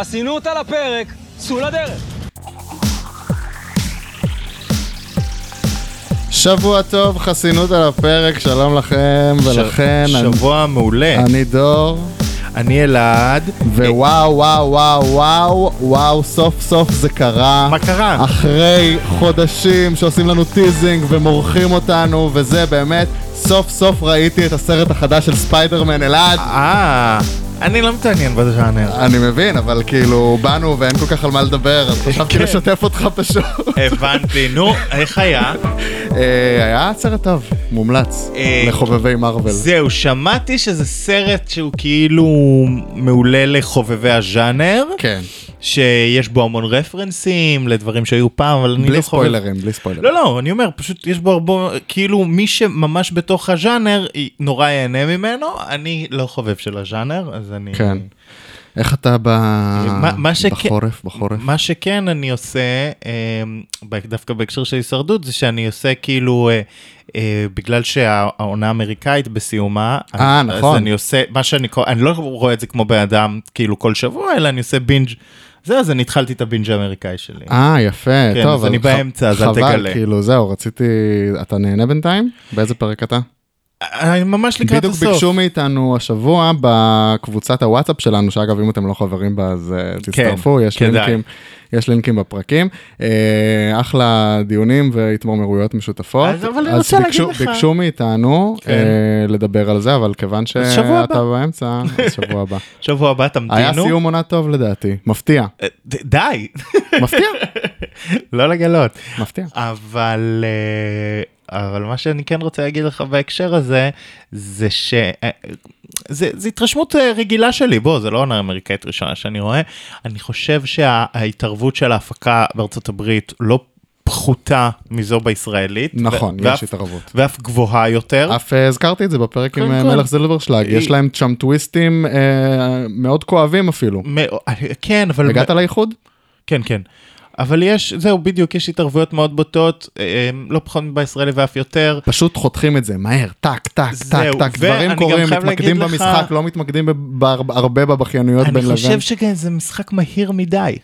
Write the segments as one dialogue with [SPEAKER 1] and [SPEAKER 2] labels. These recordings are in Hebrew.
[SPEAKER 1] חסינות על הפרק, צאו לדרך!
[SPEAKER 2] שבוע טוב, חסינות על הפרק, שלום לכם ולכן,
[SPEAKER 3] ש-
[SPEAKER 2] אני-
[SPEAKER 3] שבוע מעולה.
[SPEAKER 2] אני דור,
[SPEAKER 3] אני אלעד.
[SPEAKER 2] ווואו וואו וואו וואו, וואו סוף סוף זה קרה.
[SPEAKER 3] מה קרה?
[SPEAKER 2] אחרי חודשים שעושים לנו טיזינג ומורחים אותנו, וזה באמת, סוף סוף ראיתי את הסרט החדש של ספיידרמן אלעד.
[SPEAKER 3] אה, אני לא מתעניין בז'אנר.
[SPEAKER 2] אני מבין, אבל כאילו, באנו ואין כל כך על מה לדבר, אז חשבתי
[SPEAKER 3] כן.
[SPEAKER 2] לשתף אותך פשוט.
[SPEAKER 3] הבנתי, נו, איך היה?
[SPEAKER 2] אה, היה סרט טוב, מומלץ,
[SPEAKER 3] אה,
[SPEAKER 2] לחובבי מארוול.
[SPEAKER 3] זהו, שמעתי שזה סרט שהוא כאילו מעולה לחובבי הז'אנר,
[SPEAKER 2] כן,
[SPEAKER 3] שיש בו המון רפרנסים לדברים שהיו פעם, אבל אני
[SPEAKER 2] בלי
[SPEAKER 3] לא חובב...
[SPEAKER 2] ספוילרים, בלי ספוילרים.
[SPEAKER 3] לא, לא, אני אומר, פשוט יש בו הרבה, כאילו מי שממש בתוך הז'אנר היא- נורא ייהנה ממנו, אני לא חובב של הז'אנר, אז אני...
[SPEAKER 2] כן. איך אתה ב...
[SPEAKER 3] מה- מה שכן-
[SPEAKER 2] בחורף, בחורף?
[SPEAKER 3] מה שכן אני עושה, אה, ב- דווקא בהקשר של הישרדות, זה שאני עושה כאילו, אה, אה, בגלל שהעונה האמריקאית בסיומה,
[SPEAKER 2] אה,
[SPEAKER 3] אני-
[SPEAKER 2] נכון.
[SPEAKER 3] אז אני עושה, מה שאני קורא, אני לא רואה את זה כמו בן אדם כאילו כל שבוע, אלא אני עושה בינג' זהו, אז אני התחלתי את הבינג' האמריקאי שלי.
[SPEAKER 2] אה, יפה,
[SPEAKER 3] כן,
[SPEAKER 2] טוב.
[SPEAKER 3] אז
[SPEAKER 2] אבל
[SPEAKER 3] אני
[SPEAKER 2] ח-
[SPEAKER 3] באמצע, אז אל
[SPEAKER 2] חבל,
[SPEAKER 3] תגלה.
[SPEAKER 2] כאילו, זהו, רציתי... אתה נהנה בינתיים? באיזה פרק אתה?
[SPEAKER 3] אני ממש לקראת
[SPEAKER 2] בדיוק
[SPEAKER 3] הסוף.
[SPEAKER 2] ביקשו מאיתנו השבוע בקבוצת הוואטסאפ שלנו, שאגב, אם אתם לא חברים בה, אז אה,
[SPEAKER 3] כן,
[SPEAKER 2] תצטרפו, יש
[SPEAKER 3] כדאי.
[SPEAKER 2] לינקים. יש לינקים בפרקים, אה, אחלה דיונים והתמרמרויות משותפות.
[SPEAKER 3] אז אבל אני רוצה להגיד
[SPEAKER 2] ביקשו-
[SPEAKER 3] לך-
[SPEAKER 2] ביקשו מאיתנו
[SPEAKER 3] כן.
[SPEAKER 2] אה, לדבר על זה, אבל כיוון
[SPEAKER 3] אז שבוע הבא.
[SPEAKER 2] שאתה באמצע, אז שבוע הבא.
[SPEAKER 3] שבוע הבא
[SPEAKER 2] היה
[SPEAKER 3] תמתינו.
[SPEAKER 2] סיום עונה טוב לדעתי, מפתיע,
[SPEAKER 3] אה, ד- די,
[SPEAKER 2] מפתיע,
[SPEAKER 3] לא לגלות.
[SPEAKER 2] מפתיע.
[SPEAKER 3] אבל אה, אבל מה שאני כן רוצה להגיד לך בהקשר הזה זה ש... אה, זה, זה התרשמות אה, רגילה שלי, בוא, זה לא עונה אמריקאית ראשונה שאני רואה. אני חושב שההתערבות של ההפקה בארצות הברית לא פחותה מזו בישראלית.
[SPEAKER 2] נכון,
[SPEAKER 3] ו-
[SPEAKER 2] יש
[SPEAKER 3] ואף-
[SPEAKER 2] התערבות.
[SPEAKER 3] ואף גבוהה יותר.
[SPEAKER 2] אף אה, הזכרתי את זה בפרק עם
[SPEAKER 3] כן,
[SPEAKER 2] אה,
[SPEAKER 3] כן.
[SPEAKER 2] מלך זילברשלג, יש
[SPEAKER 3] היא-
[SPEAKER 2] להם שם טוויסטים אה, מאוד כואבים אפילו.
[SPEAKER 3] מאו- כן, אבל...
[SPEAKER 2] הגעת לאיחוד?
[SPEAKER 3] כן, כן. אבל יש, זהו, בדיוק, יש התערבויות מאוד בוטות, אה, אה, לא פחות מבישראלי ואף יותר.
[SPEAKER 2] פשוט חותכים את זה מהר, טק, טק, טק,
[SPEAKER 3] זהו,
[SPEAKER 2] טק,
[SPEAKER 3] ואני
[SPEAKER 2] דברים
[SPEAKER 3] גם
[SPEAKER 2] קורים,
[SPEAKER 3] חייב
[SPEAKER 2] מתמקדים
[SPEAKER 3] להגיד לך-
[SPEAKER 2] במשחק, לא מתמקדים בב- בהר- הרבה בבכיינויות בין
[SPEAKER 3] אני
[SPEAKER 2] לבין.
[SPEAKER 3] חושב שכן, זה משחק מהיר מדי.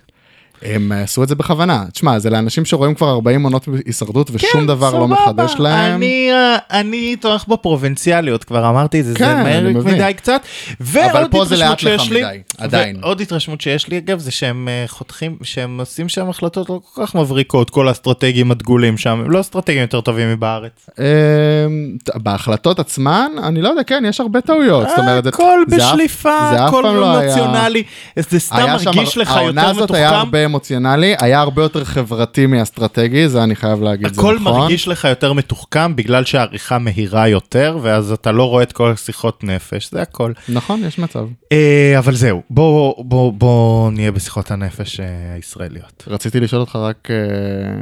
[SPEAKER 2] הם אה, עשו את זה בכוונה. תשמע, זה לאנשים שרואים כבר 40 עונות הישרדות ושום דבר לא מחדש להם.
[SPEAKER 3] כן, אני, אה, אני תומך בפרובינציאליות, כבר אמרתי את זה, זה
[SPEAKER 2] כן, אני
[SPEAKER 3] מהר
[SPEAKER 2] מבין.
[SPEAKER 3] מדי קצת.
[SPEAKER 2] אבל
[SPEAKER 3] ועוד
[SPEAKER 2] פה זה לאט
[SPEAKER 3] התרשמות
[SPEAKER 2] לך
[SPEAKER 3] שיש לי,
[SPEAKER 2] מדי, עדיין.
[SPEAKER 3] ועוד התרשמות שיש לי אגב, זה שהם אה, חותכים, שהם עושים שם החלטות לא כל כך מבריקות, כל האסטרטגים הדגולים שם, הם לא אסטרטגים יותר טובים מבארץ.
[SPEAKER 2] אמ, ת- בהחלטות עצמן, אני לא יודע, כן, יש הרבה טעויות. זאת אומרת, זה-
[SPEAKER 3] אה, הכל
[SPEAKER 2] זה אף-
[SPEAKER 3] בשליפה,
[SPEAKER 2] זה אף
[SPEAKER 3] הכל
[SPEAKER 2] פעם לא היה-
[SPEAKER 3] אמוציונלי, זה סתם
[SPEAKER 2] היה שם-
[SPEAKER 3] מרגיש לך
[SPEAKER 2] העונה
[SPEAKER 3] יותר
[SPEAKER 2] הזאת היה
[SPEAKER 3] מתוחכם.
[SPEAKER 2] הרבה אמוציונלי, היה הרבה יותר חברתי מאסטרטגי, זה אני חייב להגיד, זה
[SPEAKER 3] הכל
[SPEAKER 2] נכון.
[SPEAKER 3] מרגיש לך יותר מתוחכם בגלל שהעריכה מהירה יותר ואז אתה לא רואה את כל השיחות נפש זה הכל.
[SPEAKER 2] נכון, יש מצב.
[SPEAKER 3] אה, אבל זהו בוא בוא בוא נהיה בשיחות הנפש אה, הישראליות.
[SPEAKER 2] רציתי לשאול אותך רק אה,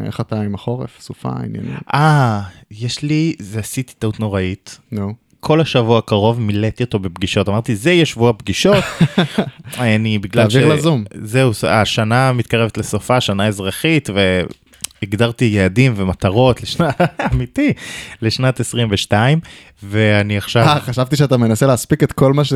[SPEAKER 2] איך אתה עם החורף, סופה, עניינים.
[SPEAKER 3] אה יש לי זה עשיתי טעות נוראית
[SPEAKER 2] נו.
[SPEAKER 3] כל השבוע הקרוב מילאתי אותו בפגישות אמרתי זה יהיה שבוע פגישות. אני בגלל
[SPEAKER 2] תעביר לזום.
[SPEAKER 3] זהו ס- השנה מתקרבת לסופה שנה אזרחית והגדרתי יעדים ומטרות לשנת אמיתי לשנת 22 ואני עכשיו.
[SPEAKER 2] אה, חשבתי שאתה מנסה להספיק את כל מה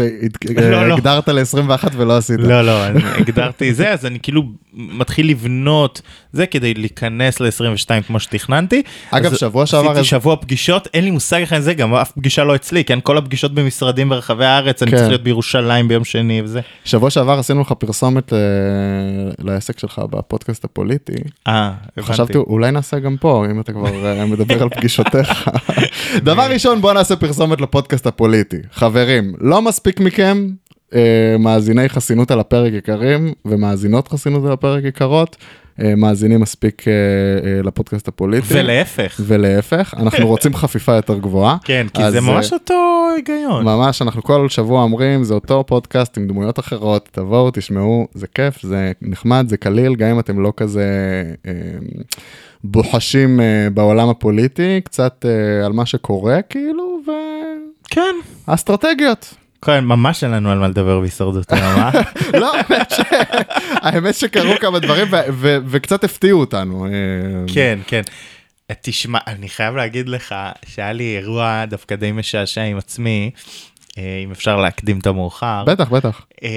[SPEAKER 3] לא, לא.
[SPEAKER 2] שהגדרת ל-21 ולא עשית.
[SPEAKER 3] לא לא אני הגדרתי זה אז אני כאילו מתחיל לבנות זה כדי להיכנס ל-22 כמו שתכננתי.
[SPEAKER 2] אגב,
[SPEAKER 3] אז
[SPEAKER 2] שבוע שעבר-
[SPEAKER 3] עשיתי שבוע פגישות אין לי מושג איך אני זה גם אף פגישה לא אצלי כן כל הפגישות במשרדים ברחבי הארץ אני
[SPEAKER 2] כן.
[SPEAKER 3] צריך להיות בירושלים ביום שני וזה.
[SPEAKER 2] שבוע שעבר עשינו לך פרסומת אה, לעסק שלך בפודקאסט הפוליטי.
[SPEAKER 3] אה, הבנתי.
[SPEAKER 2] חשבתי, אולי נעשה גם פה, אם אתה כבר אה, מדבר על פגישותיך. דבר ראשון, בוא נעשה פרסומת לפודקאסט הפוליטי. חברים, לא מספיק מכם, אה, מאזיני חסינות על הפרק יקרים, ומאזינות חסינות על הפרק יקרות, אה, מאזינים מספיק אה, אה, לפודקאסט הפוליטי.
[SPEAKER 3] ולהפך
[SPEAKER 2] ולהפך, אנחנו רוצים חפיפה יותר גבוהה.
[SPEAKER 3] כן כי
[SPEAKER 2] אז,
[SPEAKER 3] זה
[SPEAKER 2] אה,
[SPEAKER 3] ממש אותו היגיון.
[SPEAKER 2] ממש, אנחנו כל שבוע אומרים, זה אותו פודקאסט עם דמויות אחרות, תבואו, תשמעו, זה כיף, זה נחמד, זה קליל, גם אם אתם לא כזה אה, בוחשים אה, בעולם הפוליטי, קצת אה, על מה שקורה, כאילו,
[SPEAKER 3] כן.
[SPEAKER 2] והאסטרטגיות.
[SPEAKER 3] כן ממש אין לנו על מה לדבר בהישרדות היום, אה?
[SPEAKER 2] לא, האמת ש- האמת שקרו כמה דברים ו- ו- וקצת הפתיעו אותנו. אה,
[SPEAKER 3] כן כן. תשמע אני חייב להגיד לך שהיה לי אירוע דווקא די משעשע עם עצמי. אה, אה, אם אפשר להקדים את המאוחר,
[SPEAKER 2] בטח, בטח.
[SPEAKER 3] אה,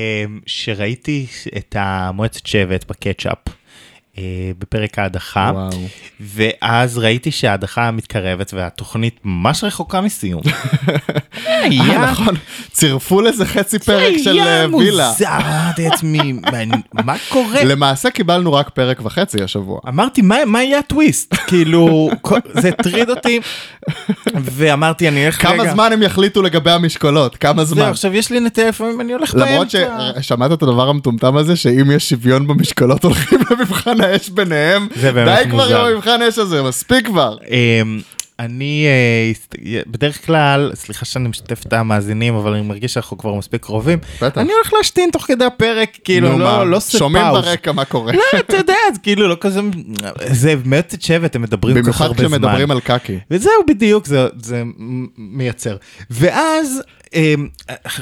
[SPEAKER 3] שראיתי את המועצת שבט בקטשאפ אה, בפרק ההדחה,
[SPEAKER 2] וואו.
[SPEAKER 3] ואז ראיתי שההדחה מתקרבת והתוכנית ממש רחוקה מסיום. היה
[SPEAKER 2] אה, נכון, צירפו לזה חצי פרק של אה,
[SPEAKER 3] היה
[SPEAKER 2] וילה.
[SPEAKER 3] מוזר, אמרתי לעצמי, "מה- מה קורה?
[SPEAKER 2] למעשה קיבלנו רק פרק וחצי השבוע.
[SPEAKER 3] אמרתי, מה, מה יהיה הטוויסט? כאילו, כל- זה הטריד אותי, ואמרתי, אני אלך רגע.
[SPEAKER 2] כמה זמן הם יחליטו לגבי המשקולות? כמה
[SPEAKER 3] זהו,
[SPEAKER 2] זמן?
[SPEAKER 3] עכשיו יש לי נטל לפעמים, אני הולך באמצע.
[SPEAKER 2] למרות ששמעת את הדבר המטומטם הזה, שאם יש שוויון במשקולות הולכים למבחן האש ביניהם,
[SPEAKER 3] זה באמת
[SPEAKER 2] די כבר
[SPEAKER 3] מוזר.
[SPEAKER 2] עם המבחן האש הזה, מספיק כבר.
[SPEAKER 3] אמ, אני אה, הסת- בדרך כלל, סליחה שאני משתף את המאזינים, אבל אני מרגיש שאנחנו כבר מספיק קרובים.
[SPEAKER 2] בטח.
[SPEAKER 3] אני הולך להשתין תוך כדי הפרק,
[SPEAKER 2] נו,
[SPEAKER 3] כאילו,
[SPEAKER 2] מה?
[SPEAKER 3] לא- לא סט
[SPEAKER 2] שומעים
[SPEAKER 3] פאוז.
[SPEAKER 2] ברקע מה קורה.
[SPEAKER 3] לא, אתה יודע, זה כאילו, לא כזה... זה מועצת שבט, הם מדברים כל כך
[SPEAKER 2] במיוחד
[SPEAKER 3] הרבה זמן.
[SPEAKER 2] כשמדברים על קקי.
[SPEAKER 3] וזהו בדיוק זה, זה מ- מייצר ואז אמ,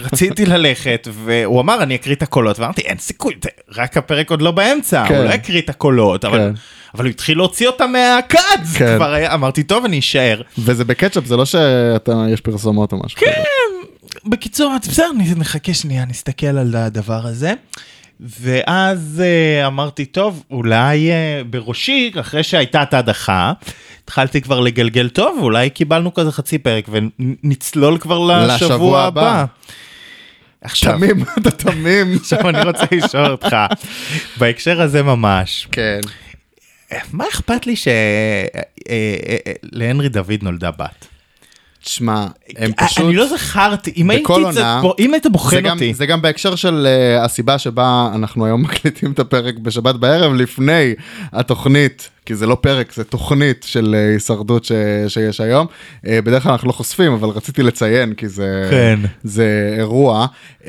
[SPEAKER 3] רציתי ללכת והוא אמר אני אקריא את הקולות ואמרתי אין סיכוי זה- רק הפרק עוד לא באמצע
[SPEAKER 2] כן.
[SPEAKER 3] הוא לא יקריא את הקולות אבל,
[SPEAKER 2] כן.
[SPEAKER 3] אבל הוא התחיל להוציא אותם מהכד זה
[SPEAKER 2] כן.
[SPEAKER 3] כבר היה אמרתי טוב אני אשאר.
[SPEAKER 2] וזה בקטשאפ, זה לא שיש פרסומות או משהו. כן.
[SPEAKER 3] בקיצור אמרתי, בסדר נ- נחכה שנייה נסתכל על הדבר הזה. ואז אה, אמרתי טוב אולי אה, בראשי אחרי שהייתה את ההדחה התחלתי כבר לגלגל טוב אולי קיבלנו כזה חצי פרק ונצלול כבר
[SPEAKER 2] לשבוע
[SPEAKER 3] לשבוע
[SPEAKER 2] הבא."
[SPEAKER 3] הבא. עכשיו
[SPEAKER 2] תמים, אתה תמים.
[SPEAKER 3] עכשיו אני רוצה לשאול אותך בהקשר הזה ממש
[SPEAKER 2] כן.
[SPEAKER 3] מה אכפת לי אה, שלהנרי אה, דוד נולדה בת.
[SPEAKER 2] תשמע, הם
[SPEAKER 3] אה,
[SPEAKER 2] פשוט...
[SPEAKER 3] אני לא זכרתי אם הייתי
[SPEAKER 2] בכל
[SPEAKER 3] קצת
[SPEAKER 2] עונה-
[SPEAKER 3] פה אם היית
[SPEAKER 2] זה
[SPEAKER 3] בוחן
[SPEAKER 2] גם,
[SPEAKER 3] אותי.
[SPEAKER 2] זה גם בהקשר של uh, הסיבה שבה אנחנו היום מקליטים את הפרק בשבת בערב לפני התוכנית, כי זה לא פרק, זה תוכנית של uh, הישרדות ש, שיש היום. Uh, בדרך כלל אנחנו לא חושפים, אבל רציתי לציין כי זה,
[SPEAKER 3] כן.
[SPEAKER 2] זה אירוע, uh,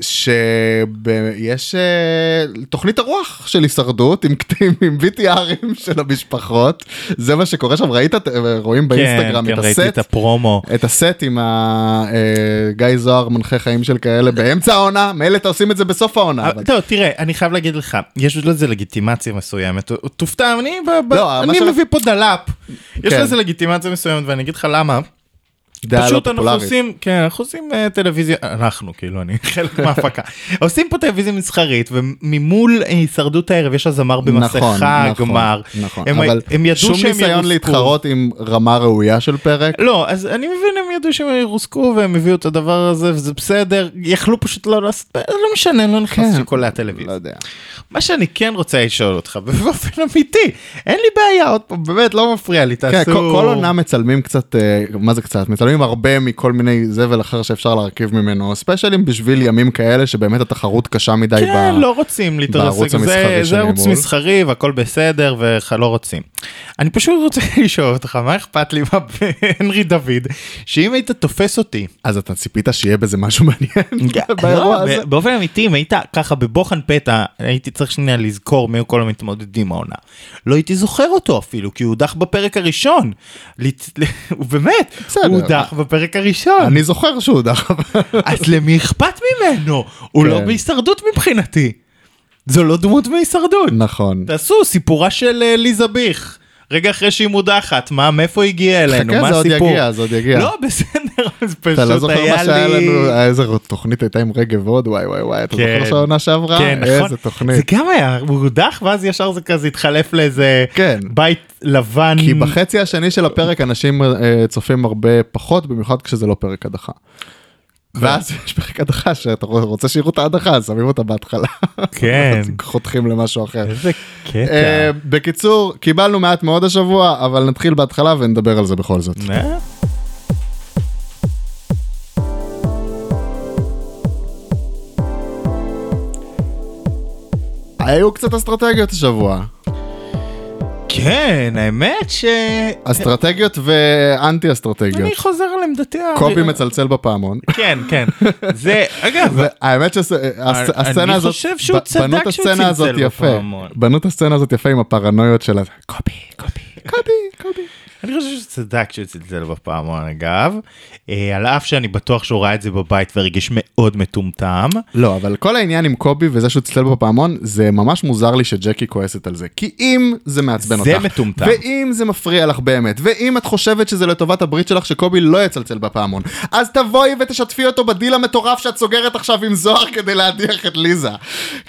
[SPEAKER 2] שיש uh, תוכנית הרוח של הישרדות עם קטעים, עם VTRים של המשפחות, זה מה שקורה שם, ראית, את- רואים באינסטגרם
[SPEAKER 3] כן,
[SPEAKER 2] את
[SPEAKER 3] כן,
[SPEAKER 2] הסט?
[SPEAKER 3] ראיתי את הפרומו.
[SPEAKER 2] את הסט עם ה- אה, גיא זוהר מנחה חיים של כאלה באמצע העונה מילא אתה עושים את זה בסוף העונה. אבל-
[SPEAKER 3] אבל- טוב תראה אני חייב להגיד לך יש לזה לגיטימציה מסוימת תופתע אני ב- ב-
[SPEAKER 2] לא, מה
[SPEAKER 3] אני
[SPEAKER 2] שלא-
[SPEAKER 3] מביא פה דלאפ יש
[SPEAKER 2] כן.
[SPEAKER 3] לזה לגיטימציה מסוימת ואני אגיד לך למה
[SPEAKER 2] דעה לא
[SPEAKER 3] פשוט אנחנו
[SPEAKER 2] פופולרית.
[SPEAKER 3] עושים כן אנחנו עושים אה, טלוויזיה אנחנו כאילו אני חלק מההפקה עושים פה טלוויזיה מסחרית וממול אה, הישרדות הערב יש הזמר במסכה
[SPEAKER 2] נכון,
[SPEAKER 3] גמר
[SPEAKER 2] נכון,
[SPEAKER 3] הם-
[SPEAKER 2] אבל
[SPEAKER 3] הם ידעו
[SPEAKER 2] שום
[SPEAKER 3] שהם
[SPEAKER 2] ניסיון
[SPEAKER 3] ירוסקו.
[SPEAKER 2] להתחרות עם רמה ראויה של פרק.
[SPEAKER 3] לא אז אני מבין הם ידעו שהם ירוסקו והם הביאו את הדבר הזה וזה בסדר יכלו פשוט לא לעשות לא משנה לא נכנס
[SPEAKER 2] כן.
[SPEAKER 3] לשיקולי הטלוויזיה.
[SPEAKER 2] לא יודע.
[SPEAKER 3] מה שאני כן רוצה לשאול אותך באופן אמיתי אין לי בעיה עוד פעם באמת לא מפריע לי
[SPEAKER 2] כן,
[SPEAKER 3] תעשו.
[SPEAKER 2] כל כל עונה מצלמים קצת, אה, מה זה קצת? מצלמים הרבה מכל מיני זבל אחר שאפשר להרכיב ממנו, ספיישלים בשביל ימים כאלה שבאמת התחרות קשה מדי
[SPEAKER 3] כן,
[SPEAKER 2] ב-
[SPEAKER 3] לא רוצים להתרסק,
[SPEAKER 2] בערוץ המסחרי
[SPEAKER 3] זה,
[SPEAKER 2] של
[SPEAKER 3] זה ערוץ
[SPEAKER 2] נימול.
[SPEAKER 3] מסחרי והכל בסדר ולא רוצים. אני פשוט רוצה לשאול אותך, מה אכפת לי מה הנרי דוד, שאם היית תופס אותי,
[SPEAKER 2] אז אתה ציפית שיהיה בזה משהו מעניין באירוע
[SPEAKER 3] לא,
[SPEAKER 2] הזה?
[SPEAKER 3] ב- באופן אמיתי, אם היית ככה בבוחן פתע, הייתי צריך שנייה לזכור מי כל המתמודדים העונה. לא הייתי זוכר אותו אפילו, כי הוא הודח בפרק הראשון. לצ- הוא באמת,
[SPEAKER 2] בסדר.
[SPEAKER 3] הוא הודח בפרק הראשון.
[SPEAKER 2] אני זוכר שהוא דח.
[SPEAKER 3] אז למי אכפת ממנו? הוא לא
[SPEAKER 2] כן.
[SPEAKER 3] בהישרדות מבחינתי. זו לא דמות בהישרדות.
[SPEAKER 2] נכון.
[SPEAKER 3] תעשו סיפורה של אה, ליזה ביך. רגע אחרי שהיא מודחת, מה, מאיפה היא הגיעה אלינו,
[SPEAKER 2] חכה,
[SPEAKER 3] מה
[SPEAKER 2] זה עוד
[SPEAKER 3] הסיפור?
[SPEAKER 2] יגיע, זה עוד יגיע.
[SPEAKER 3] לא, בסדר, אז פשוט היה לי...
[SPEAKER 2] אתה לא זוכר מה שהיה לנו, איזה תוכנית הייתה עם רגב עוד, וואי וואי וואי, אתה
[SPEAKER 3] כן.
[SPEAKER 2] זוכר שהעונה שעברה?
[SPEAKER 3] כן, נכון.
[SPEAKER 2] אה, איזה
[SPEAKER 3] זה
[SPEAKER 2] תוכנית.
[SPEAKER 3] גם היה, הוא הודח ואז ישר זה כזה התחלף לאיזה
[SPEAKER 2] כן.
[SPEAKER 3] בית לבן.
[SPEAKER 2] כי בחצי השני של הפרק אנשים אה, צופים הרבה פחות, במיוחד כשזה לא פרק הדחה.
[SPEAKER 3] כן.
[SPEAKER 2] ואז יש פרק הדחה שאתה רוצה שיראו את ההדחה, אז שמים אותה בהתחלה.
[SPEAKER 3] כן.
[SPEAKER 2] אז חותכים למשהו אחר.
[SPEAKER 3] איזה
[SPEAKER 2] אה,
[SPEAKER 3] קטע.
[SPEAKER 2] בקיצור, קיבלנו מעט מאוד השבוע, אבל נתחיל בהתחלה ונדבר על זה בכל זאת.
[SPEAKER 3] אה?
[SPEAKER 2] היו קצת אסטרטגיות השבוע.
[SPEAKER 3] כן, האמת ש...
[SPEAKER 2] אסטרטגיות ואנטי אסטרטגיות.
[SPEAKER 3] אני חוזר על עמדתי. ה-
[SPEAKER 2] קובי מצלצל בפעמון.
[SPEAKER 3] כן, כן. זה, אגב,
[SPEAKER 2] האמת שהסצנה הזאת,
[SPEAKER 3] חושב שהוא
[SPEAKER 2] ב-
[SPEAKER 3] צדק
[SPEAKER 2] בנו את
[SPEAKER 3] שהוא
[SPEAKER 2] הסצנה
[SPEAKER 3] צלצל
[SPEAKER 2] הזאת יפה.
[SPEAKER 3] בפעמון.
[SPEAKER 2] בנו את הסצנה הזאת יפה עם הפרנויות של ה- קובי, קובי, קובי, קובי.
[SPEAKER 3] אני חושב שצדק שהוא צלצל בפעמון אגב, אה, על אף שאני בטוח שהוא ראה את זה בבית והרגיש מאוד מטומטם.
[SPEAKER 2] לא, אבל כל העניין עם קובי וזה שהוא צלצל בפעמון, זה ממש מוזר לי שג'קי כועסת על זה. כי אם זה מעצבן אותך,
[SPEAKER 3] זה מטומטם.
[SPEAKER 2] ואם זה מפריע לך באמת, ואם את חושבת שזה לטובת הברית שלך שקובי לא יצלצל בפעמון, אז תבואי ותשתפי אותו בדיל המטורף שאת סוגרת עכשיו עם זוהר כדי להדיח את ליזה.
[SPEAKER 3] אה,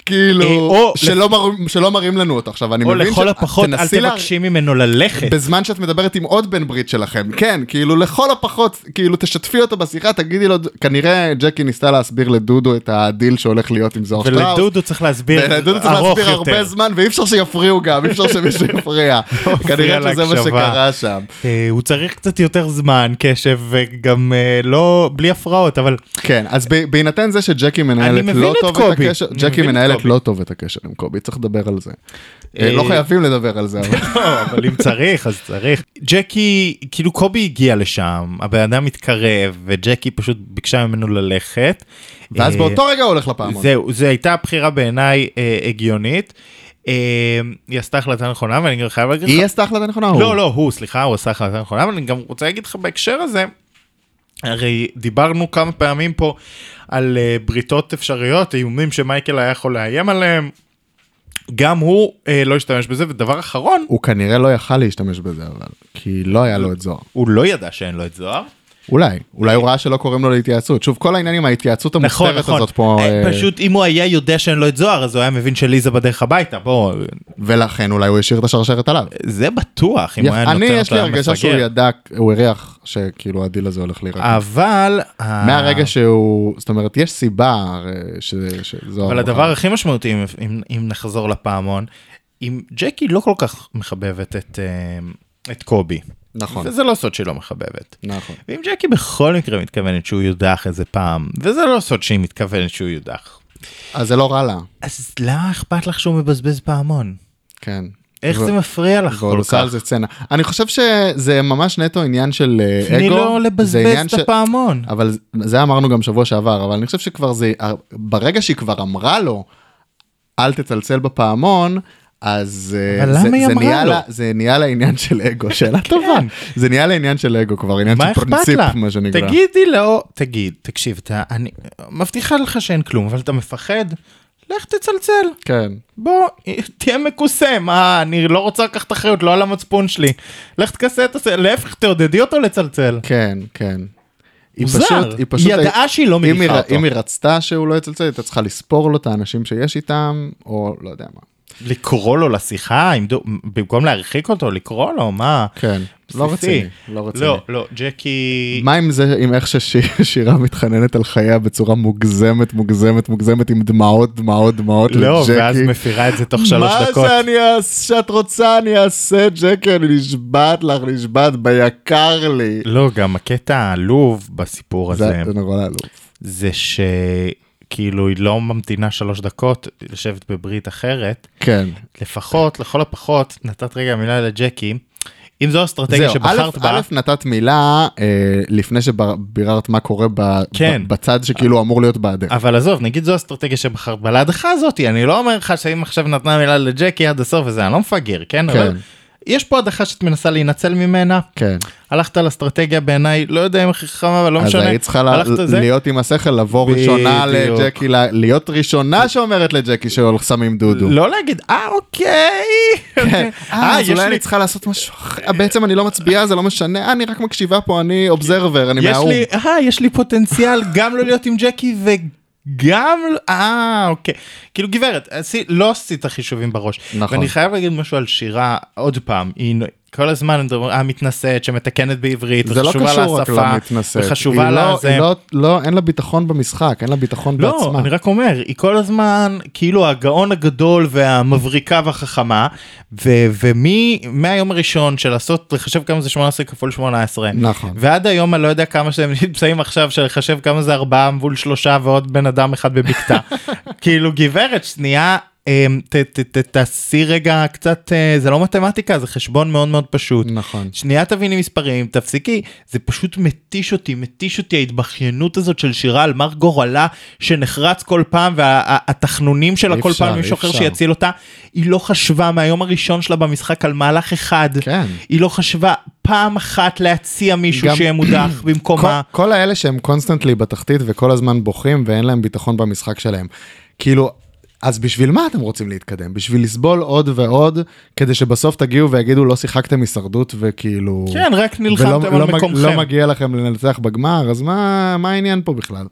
[SPEAKER 2] כאילו,
[SPEAKER 3] או
[SPEAKER 2] שלא מראים- שלא מראים לנו אותו עכשיו, אני
[SPEAKER 3] או
[SPEAKER 2] מבין
[SPEAKER 3] לכל הפחות אל
[SPEAKER 2] תנסי לה-
[SPEAKER 3] תבקשי ממנו ללכת.
[SPEAKER 2] בזמן שאת מדברת עם עוד בן ברית שלכם, כן, כאילו לכל הפחות, כאילו תשתפי אותו בשיחה, תגידי לו, כנראה ג'קי ניסתה להסביר לדודו את הדיל שהולך להיות עם זוהר שטראוס.
[SPEAKER 3] ולדודו צריך להסביר
[SPEAKER 2] ולדודו צריך
[SPEAKER 3] ארוך
[SPEAKER 2] להסביר הרבה
[SPEAKER 3] יותר.
[SPEAKER 2] זמן, ואי אפשר שיפריעו גם, אי אפשר שמישהו יפריע. כנראה שזה מה
[SPEAKER 3] להקשבה.
[SPEAKER 2] שקרה שם.
[SPEAKER 3] אה, הוא צריך קצת יותר זמן, קשב, וגם אה, לא, בלי הפרעות, אבל
[SPEAKER 2] כן, אז ב- בהינתן זה שג'קי מנהלת
[SPEAKER 3] מבין
[SPEAKER 2] לא
[SPEAKER 3] את
[SPEAKER 2] טוב את
[SPEAKER 3] קובי.
[SPEAKER 2] הקשר,
[SPEAKER 3] אני
[SPEAKER 2] ג'קי
[SPEAKER 3] מבין את
[SPEAKER 2] מנהלת
[SPEAKER 3] קובי.
[SPEAKER 2] לא טוב את הקשר עם קובי, צריך לדבר על זה. אה,
[SPEAKER 3] אה,
[SPEAKER 2] לא חייבים לדבר על זה, אבל...
[SPEAKER 3] לא, אבל אם צריך אז צריך. ג'קי כאילו קובי הגיע לשם הבן אדם התקרב וג'קי פשוט ביקשה ממנו ללכת.
[SPEAKER 2] ואז
[SPEAKER 3] אה,
[SPEAKER 2] באותו רגע הוא הולך לפעמון.
[SPEAKER 3] זהו זה הייתה בחירה בעיניי אה, הגיונית. אה, היא עשתה החלטה נכונה ואני גם חייב להגיד לך.
[SPEAKER 2] היא עשתה החלטה נכונה? או הוא?
[SPEAKER 3] לא לא הוא סליחה הוא עשה החלטה נכונה אבל אני גם רוצה להגיד לך בהקשר הזה. הרי דיברנו כמה פעמים פה על אה, בריתות אפשריות איומים שמייקל היה יכול לאיים עליהם. גם הוא אה, לא השתמש בזה ודבר אחרון
[SPEAKER 2] הוא כנראה לא יכל להשתמש בזה אבל, כי לא היה לו את זוהר.
[SPEAKER 3] הוא לא ידע שאין לו את זוהר.
[SPEAKER 2] אולי, אולי הוא ראה שלא קוראים לו להתייעצות. שוב, כל העניין עם ההתייעצות
[SPEAKER 3] נכון,
[SPEAKER 2] המוסתרת
[SPEAKER 3] נכון.
[SPEAKER 2] הזאת פה,
[SPEAKER 3] אה,
[SPEAKER 2] אה,
[SPEAKER 3] פשוט אם הוא היה יודע שאין לו את זוהר, אז הוא היה מבין שליזה בדרך הביתה, בוא,
[SPEAKER 2] ולכן אולי הוא השאיר את השרשרת עליו.
[SPEAKER 3] זה בטוח, אם הוא היה נותן
[SPEAKER 2] אני,
[SPEAKER 3] אותה
[SPEAKER 2] יש לי הרגשה שהוא
[SPEAKER 3] למפגר. אה,
[SPEAKER 2] ידע, הוא הריח שכאילו הדיל הזה הולך להיראה.
[SPEAKER 3] אבל... אה,
[SPEAKER 2] מהרגע שהוא, זאת אומרת, יש סיבה הרי, ש- שזו...
[SPEAKER 3] אבל
[SPEAKER 2] ההוכחה.
[SPEAKER 3] הדבר הכי משמעותי, אם- אם אם נחזור לפעמון, אם ג'קי לא כל כך מחבבת את... אה, את קובי,
[SPEAKER 2] נכון,
[SPEAKER 3] וזה לא סוד שהיא לא מחבבת.
[SPEAKER 2] נכון.
[SPEAKER 3] ואם ג'קי בכל מקרה מתכוונת שהוא יודח איזה פעם, וזה לא סוד שהיא מתכוונת שהוא יודח,
[SPEAKER 2] אז זה לא רע לה,
[SPEAKER 3] אז למה אכפת לך שהוא מבזבז פעמון?
[SPEAKER 2] כן.
[SPEAKER 3] איך
[SPEAKER 2] ו-
[SPEAKER 3] זה מפריע לך
[SPEAKER 2] ועוד
[SPEAKER 3] כל
[SPEAKER 2] עושה
[SPEAKER 3] כך?
[SPEAKER 2] על זה צנע. אני חושב שזה ממש נטו עניין של אה, אגו.
[SPEAKER 3] תני לו
[SPEAKER 2] זה
[SPEAKER 3] לא לבזבז
[SPEAKER 2] עניין
[SPEAKER 3] את
[SPEAKER 2] ש- אה,
[SPEAKER 3] הפעמון.
[SPEAKER 2] אבל זה- זה אמרנו גם שבוע שעבר, אבל אני חושב שכבר זה, ברגע שהיא כבר אמרה לו, אל תצלצל בפעמון, אז אה,
[SPEAKER 3] אבל
[SPEAKER 2] זה,
[SPEAKER 3] למה היא
[SPEAKER 2] זה,
[SPEAKER 3] אמרה
[SPEAKER 2] נהיה
[SPEAKER 3] לו? כן.
[SPEAKER 2] לה, זה נהיה לה עניין של אגו, שאלה טובה. זה נהיה לה עניין של אגו כבר, עניין
[SPEAKER 3] מה
[SPEAKER 2] של
[SPEAKER 3] אכפת
[SPEAKER 2] פרינציפ,
[SPEAKER 3] לה?
[SPEAKER 2] מה שנקרא.
[SPEAKER 3] תגידי לו, תגיד, תקשיב, אתה, אני מבטיחה לך שאין כלום, אבל אתה מפחד? לך תצלצל,
[SPEAKER 2] כן.
[SPEAKER 3] בוא, תהיה מקוסם, אה, אני לא רוצה לקחת אחריות, לא על המצפון שלי. לך תכסה את הס... להפך, תעודדי אותו לצלצל.
[SPEAKER 2] כן, כן. היא
[SPEAKER 3] מוזר.
[SPEAKER 2] פשוט, היא פשוט...
[SPEAKER 3] היא ידעה שהיא לא
[SPEAKER 2] אם היא
[SPEAKER 3] מניחה
[SPEAKER 2] ר-
[SPEAKER 3] אותו.
[SPEAKER 2] אם היא רצתה שהוא לא יצלצל, היא הייתה צריכה לספור לו את האנשים שיש איתם, או לא יודע מה.
[SPEAKER 3] לקרוא לו לשיחה, עם דו- במקום להרחיק אותו, לקרוא לו, מה?
[SPEAKER 2] כן, לא
[SPEAKER 3] בסיסי.
[SPEAKER 2] רציני, לא רציני.
[SPEAKER 3] לא, לא, ג'קי...
[SPEAKER 2] מה עם זה, עם איך ששירה מתחננת על חייה בצורה מוגזמת, מוגזמת, מוגזמת, עם דמעות, דמעות, דמעות
[SPEAKER 3] לא,
[SPEAKER 2] לג'קי?
[SPEAKER 3] ואז מפירה את זה תוך שלוש דקות.
[SPEAKER 2] מה שאני אעשה, שאת רוצה אני אעשה, ג'קי, אני נשבעת לך, נשבעת ביקר לי.
[SPEAKER 3] לא, גם הקטע העלוב בסיפור
[SPEAKER 2] זה
[SPEAKER 3] הזה,
[SPEAKER 2] זה נורא לעלוב.
[SPEAKER 3] זה שכאילו היא לא ממתינה שלוש דקות לשבת בברית אחרת,
[SPEAKER 2] כן.
[SPEAKER 3] לפחות, לכל הפחות, נתת רגע מילה לג'קי, אם זו האסטרטגיה
[SPEAKER 2] זהו,
[SPEAKER 3] שבחרת
[SPEAKER 2] א',
[SPEAKER 3] בה,
[SPEAKER 2] א', נתת מילה אה, לפני שביררת מה קורה ב-
[SPEAKER 3] כן. אה,
[SPEAKER 2] ב- בצד שכאילו אמור להיות בעדך.
[SPEAKER 3] אבל עזוב, נגיד זו האסטרטגיה שבחרת בה, להדחה הזאתי, אני לא אומר לך שאם עכשיו נתנה מילה לג'קי עד הסוף וזה, אני לא מפגר, כן?
[SPEAKER 2] כן.
[SPEAKER 3] אבל יש פה הדחה שאת מנסה להינצל ממנה,
[SPEAKER 2] כן.
[SPEAKER 3] הלכת על אסטרטגיה בעיניי, לא יודע אם הכי חכמה, אבל לא
[SPEAKER 2] אז
[SPEAKER 3] משנה,
[SPEAKER 2] היית צריכה לה-
[SPEAKER 3] הלכת זה,
[SPEAKER 2] להיות עם השכל, לבוא ראשונה
[SPEAKER 3] בדיוק.
[SPEAKER 2] לג'קי, לה- להיות ראשונה שאומרת לג'קי ששמים דודו.
[SPEAKER 3] לא להגיד, אה אוקיי,
[SPEAKER 2] כן. אה, אז
[SPEAKER 3] יש
[SPEAKER 2] אולי
[SPEAKER 3] לי-
[SPEAKER 2] אני צריכה לעשות משהו אחר. אה, בעצם אני לא מצביעה, זה לא משנה, אה, אני רק מקשיבה פה, אני אובזרבר, אני
[SPEAKER 3] יש
[SPEAKER 2] מהאו"ם.
[SPEAKER 3] לי, אה, יש לי פוטנציאל גם לא להיות עם ג'קי וגם, לא- אה, אוקיי. כאילו גברת, עשי, לא עשית חישובים בראש.
[SPEAKER 2] נכון.
[SPEAKER 3] ואני חייב להגיד משהו על שירה, עוד פעם, היא נ- כל הזמן מדברים, אה, מתנשאת, שמתקנת בעברית,
[SPEAKER 2] זה לא
[SPEAKER 3] וחשובה
[SPEAKER 2] קשור רק
[SPEAKER 3] לשפה,
[SPEAKER 2] למתנשאת.
[SPEAKER 3] וחשובה
[SPEAKER 2] היא לא-
[SPEAKER 3] לזה.
[SPEAKER 2] היא לא- לא, אין לה ביטחון במשחק, אין לה ביטחון
[SPEAKER 3] לא,
[SPEAKER 2] בעצמה.
[SPEAKER 3] אני רק אומר, היא כל הזמן כאילו הגאון הגדול והמבריקה והחכמה, ו- ומי, מהיום הראשון של לעשות, לחשב כמה זה 18 כפול 18,
[SPEAKER 2] נכון.
[SPEAKER 3] ועד היום אני לא יודע כמה שהם נמצאים עכשיו של לחשב כמה זה 4 מול 3 ועוד בן אדם אחד בבקתה. כאילו גברת, שנייה. אמ, ת- ת- ת- תעשי רגע קצת, אה, זה לא מתמטיקה, זה חשבון מאוד מאוד פשוט.
[SPEAKER 2] נכון.
[SPEAKER 3] שנייה תביני מספרים, תפסיקי, זה פשוט מתיש אותי, מתיש אותי ההתבכיינות הזאת של שירה על מר גורלה שנחרץ כל פעם והתחנונים
[SPEAKER 2] אי
[SPEAKER 3] שלה כל
[SPEAKER 2] אפשר,
[SPEAKER 3] פעם
[SPEAKER 2] אי
[SPEAKER 3] מישהו אחר
[SPEAKER 2] אפשר.
[SPEAKER 3] שיציל אותה, היא לא חשבה מהיום הראשון שלה במשחק על מהלך אחד,
[SPEAKER 2] כן.
[SPEAKER 3] היא לא חשבה פעם אחת להציע מישהו
[SPEAKER 2] גם-
[SPEAKER 3] שיהיה מודח במקומה.
[SPEAKER 2] כל, כל האלה שהם קונסטנטלי בתחתית וכל הזמן בוכים ואין להם ביטחון במשחק שלהם. כאילו, אז בשביל מה אתם רוצים להתקדם? בשביל לסבול עוד ועוד, כדי שבסוף תגיעו ויגידו לא שיחקתם הישרדות וכאילו...
[SPEAKER 3] כן, רק נלחמתם
[SPEAKER 2] ולא-
[SPEAKER 3] על
[SPEAKER 2] לא מג- לא
[SPEAKER 3] מקומכם.
[SPEAKER 2] מגיע לכם לנצח בגמר, אז מה, מה העניין פה בכלל?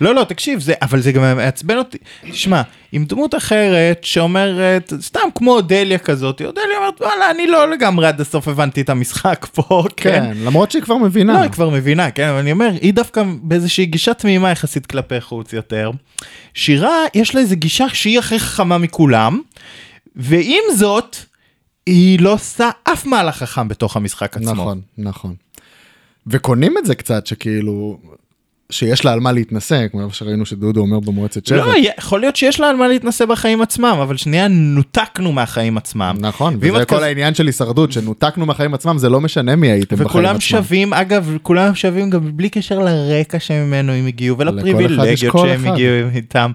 [SPEAKER 3] לא, לא, תקשיב, זה, אבל זה גם מעצבן אותי. תשמע, עם דמות אחרת שאומרת, סתם כמו אודליה כזאת, אודליה אומרת, וואלה, אני לא לגמרי עד הסוף הבנתי את המשחק פה, כן.
[SPEAKER 2] כן, למרות שהיא כבר מבינה.
[SPEAKER 3] לא, היא כבר מבינה, כן, אבל אני אומר, היא דווקא באיזושהי גישה תמימה יחסית כלפי חוץ יותר. שירה, יש לה איזו גישה שהיא הכי חכמה מכולם, ועם זאת, היא לא עושה אף מהלך חכם בתוך המשחק עצמו.
[SPEAKER 2] נכון, נכון. וקונים את זה קצת, שכאילו, שיש לה על מה להתנשא, כמו שראינו שדודו אומר במועצת שבט.
[SPEAKER 3] לא, יכול להיות שיש לה על מה להתנסה בחיים עצמם, אבל שנייה נותקנו מהחיים עצמם.
[SPEAKER 2] נכון,
[SPEAKER 3] ואם
[SPEAKER 2] וזה
[SPEAKER 3] את
[SPEAKER 2] כל
[SPEAKER 3] כזה-
[SPEAKER 2] העניין של הישרדות, שנותקנו מהחיים עצמם, זה לא משנה מי הייתם בחיים עצמם.
[SPEAKER 3] וכולם שווים, אגב, כולם שווים גם בלי קשר לרקע שממנו הם הגיעו
[SPEAKER 2] לכל אחד יש
[SPEAKER 3] ולפריבילגיות
[SPEAKER 2] קול
[SPEAKER 3] שהם
[SPEAKER 2] אחד.
[SPEAKER 3] הגיעו איתם.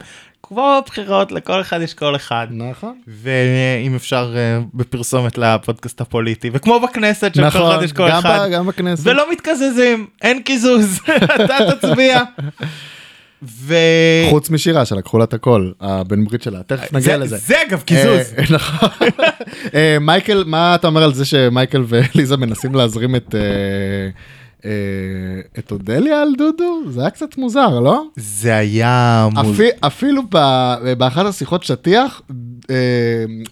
[SPEAKER 3] כמו בבחירות, לכל אחד יש קול אחד.
[SPEAKER 2] נכון.
[SPEAKER 3] ואם אפשר אה, בפרסומת לפודקאסט הפוליטי, וכמו בכנסת, שלכל
[SPEAKER 2] נכון,
[SPEAKER 3] אחד יש קול
[SPEAKER 2] גם
[SPEAKER 3] אחד.
[SPEAKER 2] ב- גם בכנסת.
[SPEAKER 3] ולא מתקזזים, אין קיזוז, אתה תצביע. ו...
[SPEAKER 2] חוץ משירה שלקחו לה את הכל, הבן ברית שלה, תכף נגיע
[SPEAKER 3] זה-
[SPEAKER 2] לזה.
[SPEAKER 3] זה אגב קיזוז.
[SPEAKER 2] אה, נכון. אה, מייקל, מה אתה אומר על זה שמייקל וליזה מנסים להזרים את... אה, אה, את אודליה על דודו? זה היה קצת מוזר, לא?
[SPEAKER 3] זה היה מוז...
[SPEAKER 2] אפי- אפילו ב- באחת השיחות שטיח, אה,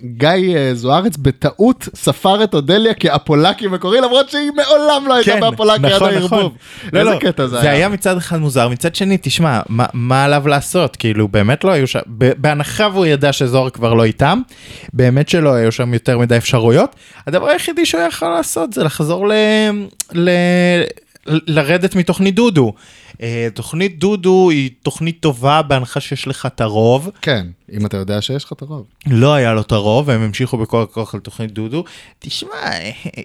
[SPEAKER 2] גיא אה, זוארץ בטעות ספר את אודליה כאפולקי מקורי, למרות שהיא מעולם לא הייתה באפולקי עד הערבוב.
[SPEAKER 3] לא,
[SPEAKER 2] איזה
[SPEAKER 3] כן, לא,
[SPEAKER 2] קטע זה
[SPEAKER 3] זה
[SPEAKER 2] היה.
[SPEAKER 3] היה מצד אחד מוזר, מצד שני, תשמע, מה, מה עליו לעשות? כאילו, באמת לא היו שם, ב- בהנחה והוא ידע שזוהר כבר לא איתם, באמת שלא היו שם יותר מדי אפשרויות. הדבר היחידי שהוא יכול לעשות זה לחזור ל... ל... לרדת מתוכנית דודו. אה, תוכנית דודו היא תוכנית טובה בהנחה שיש לך את הרוב.
[SPEAKER 2] כן, אם אתה יודע שיש לך את הרוב.
[SPEAKER 3] לא היה לו את הרוב והם המשיכו בכל הכוח על תוכנית דודו. תשמע,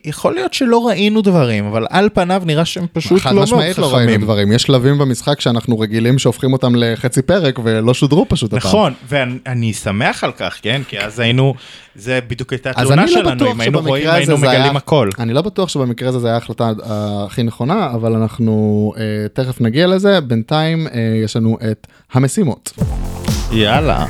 [SPEAKER 3] יכול להיות שלא ראינו דברים, אבל על פניו נראה שהם פשוט
[SPEAKER 2] חד
[SPEAKER 3] לא מאוד
[SPEAKER 2] משמעית לא ראינו
[SPEAKER 3] חכמים.
[SPEAKER 2] דברים. יש שלבים במשחק שאנחנו רגילים שהופכים אותם לחצי פרק ולא שודרו פשוט הפעם.
[SPEAKER 3] נכון, ואני אני שמח על כך, כן? כי אז היינו, זה בדיוק הייתה
[SPEAKER 2] אז אני
[SPEAKER 3] התלונה
[SPEAKER 2] לא
[SPEAKER 3] שלנו,
[SPEAKER 2] בטוח
[SPEAKER 3] אם היינו רואים,
[SPEAKER 2] שבמקרה הזה
[SPEAKER 3] היינו
[SPEAKER 2] זה היה...
[SPEAKER 3] מגלים הכל.
[SPEAKER 2] אני לא בטוח שבמקרה הזה זה היה ההחלטה אה, הכי נכונה, אבל אנחנו אה, תכף נגיע לזה. בינתיים אה, יש לנו את המשימות.
[SPEAKER 3] יאללה.
[SPEAKER 2] אה,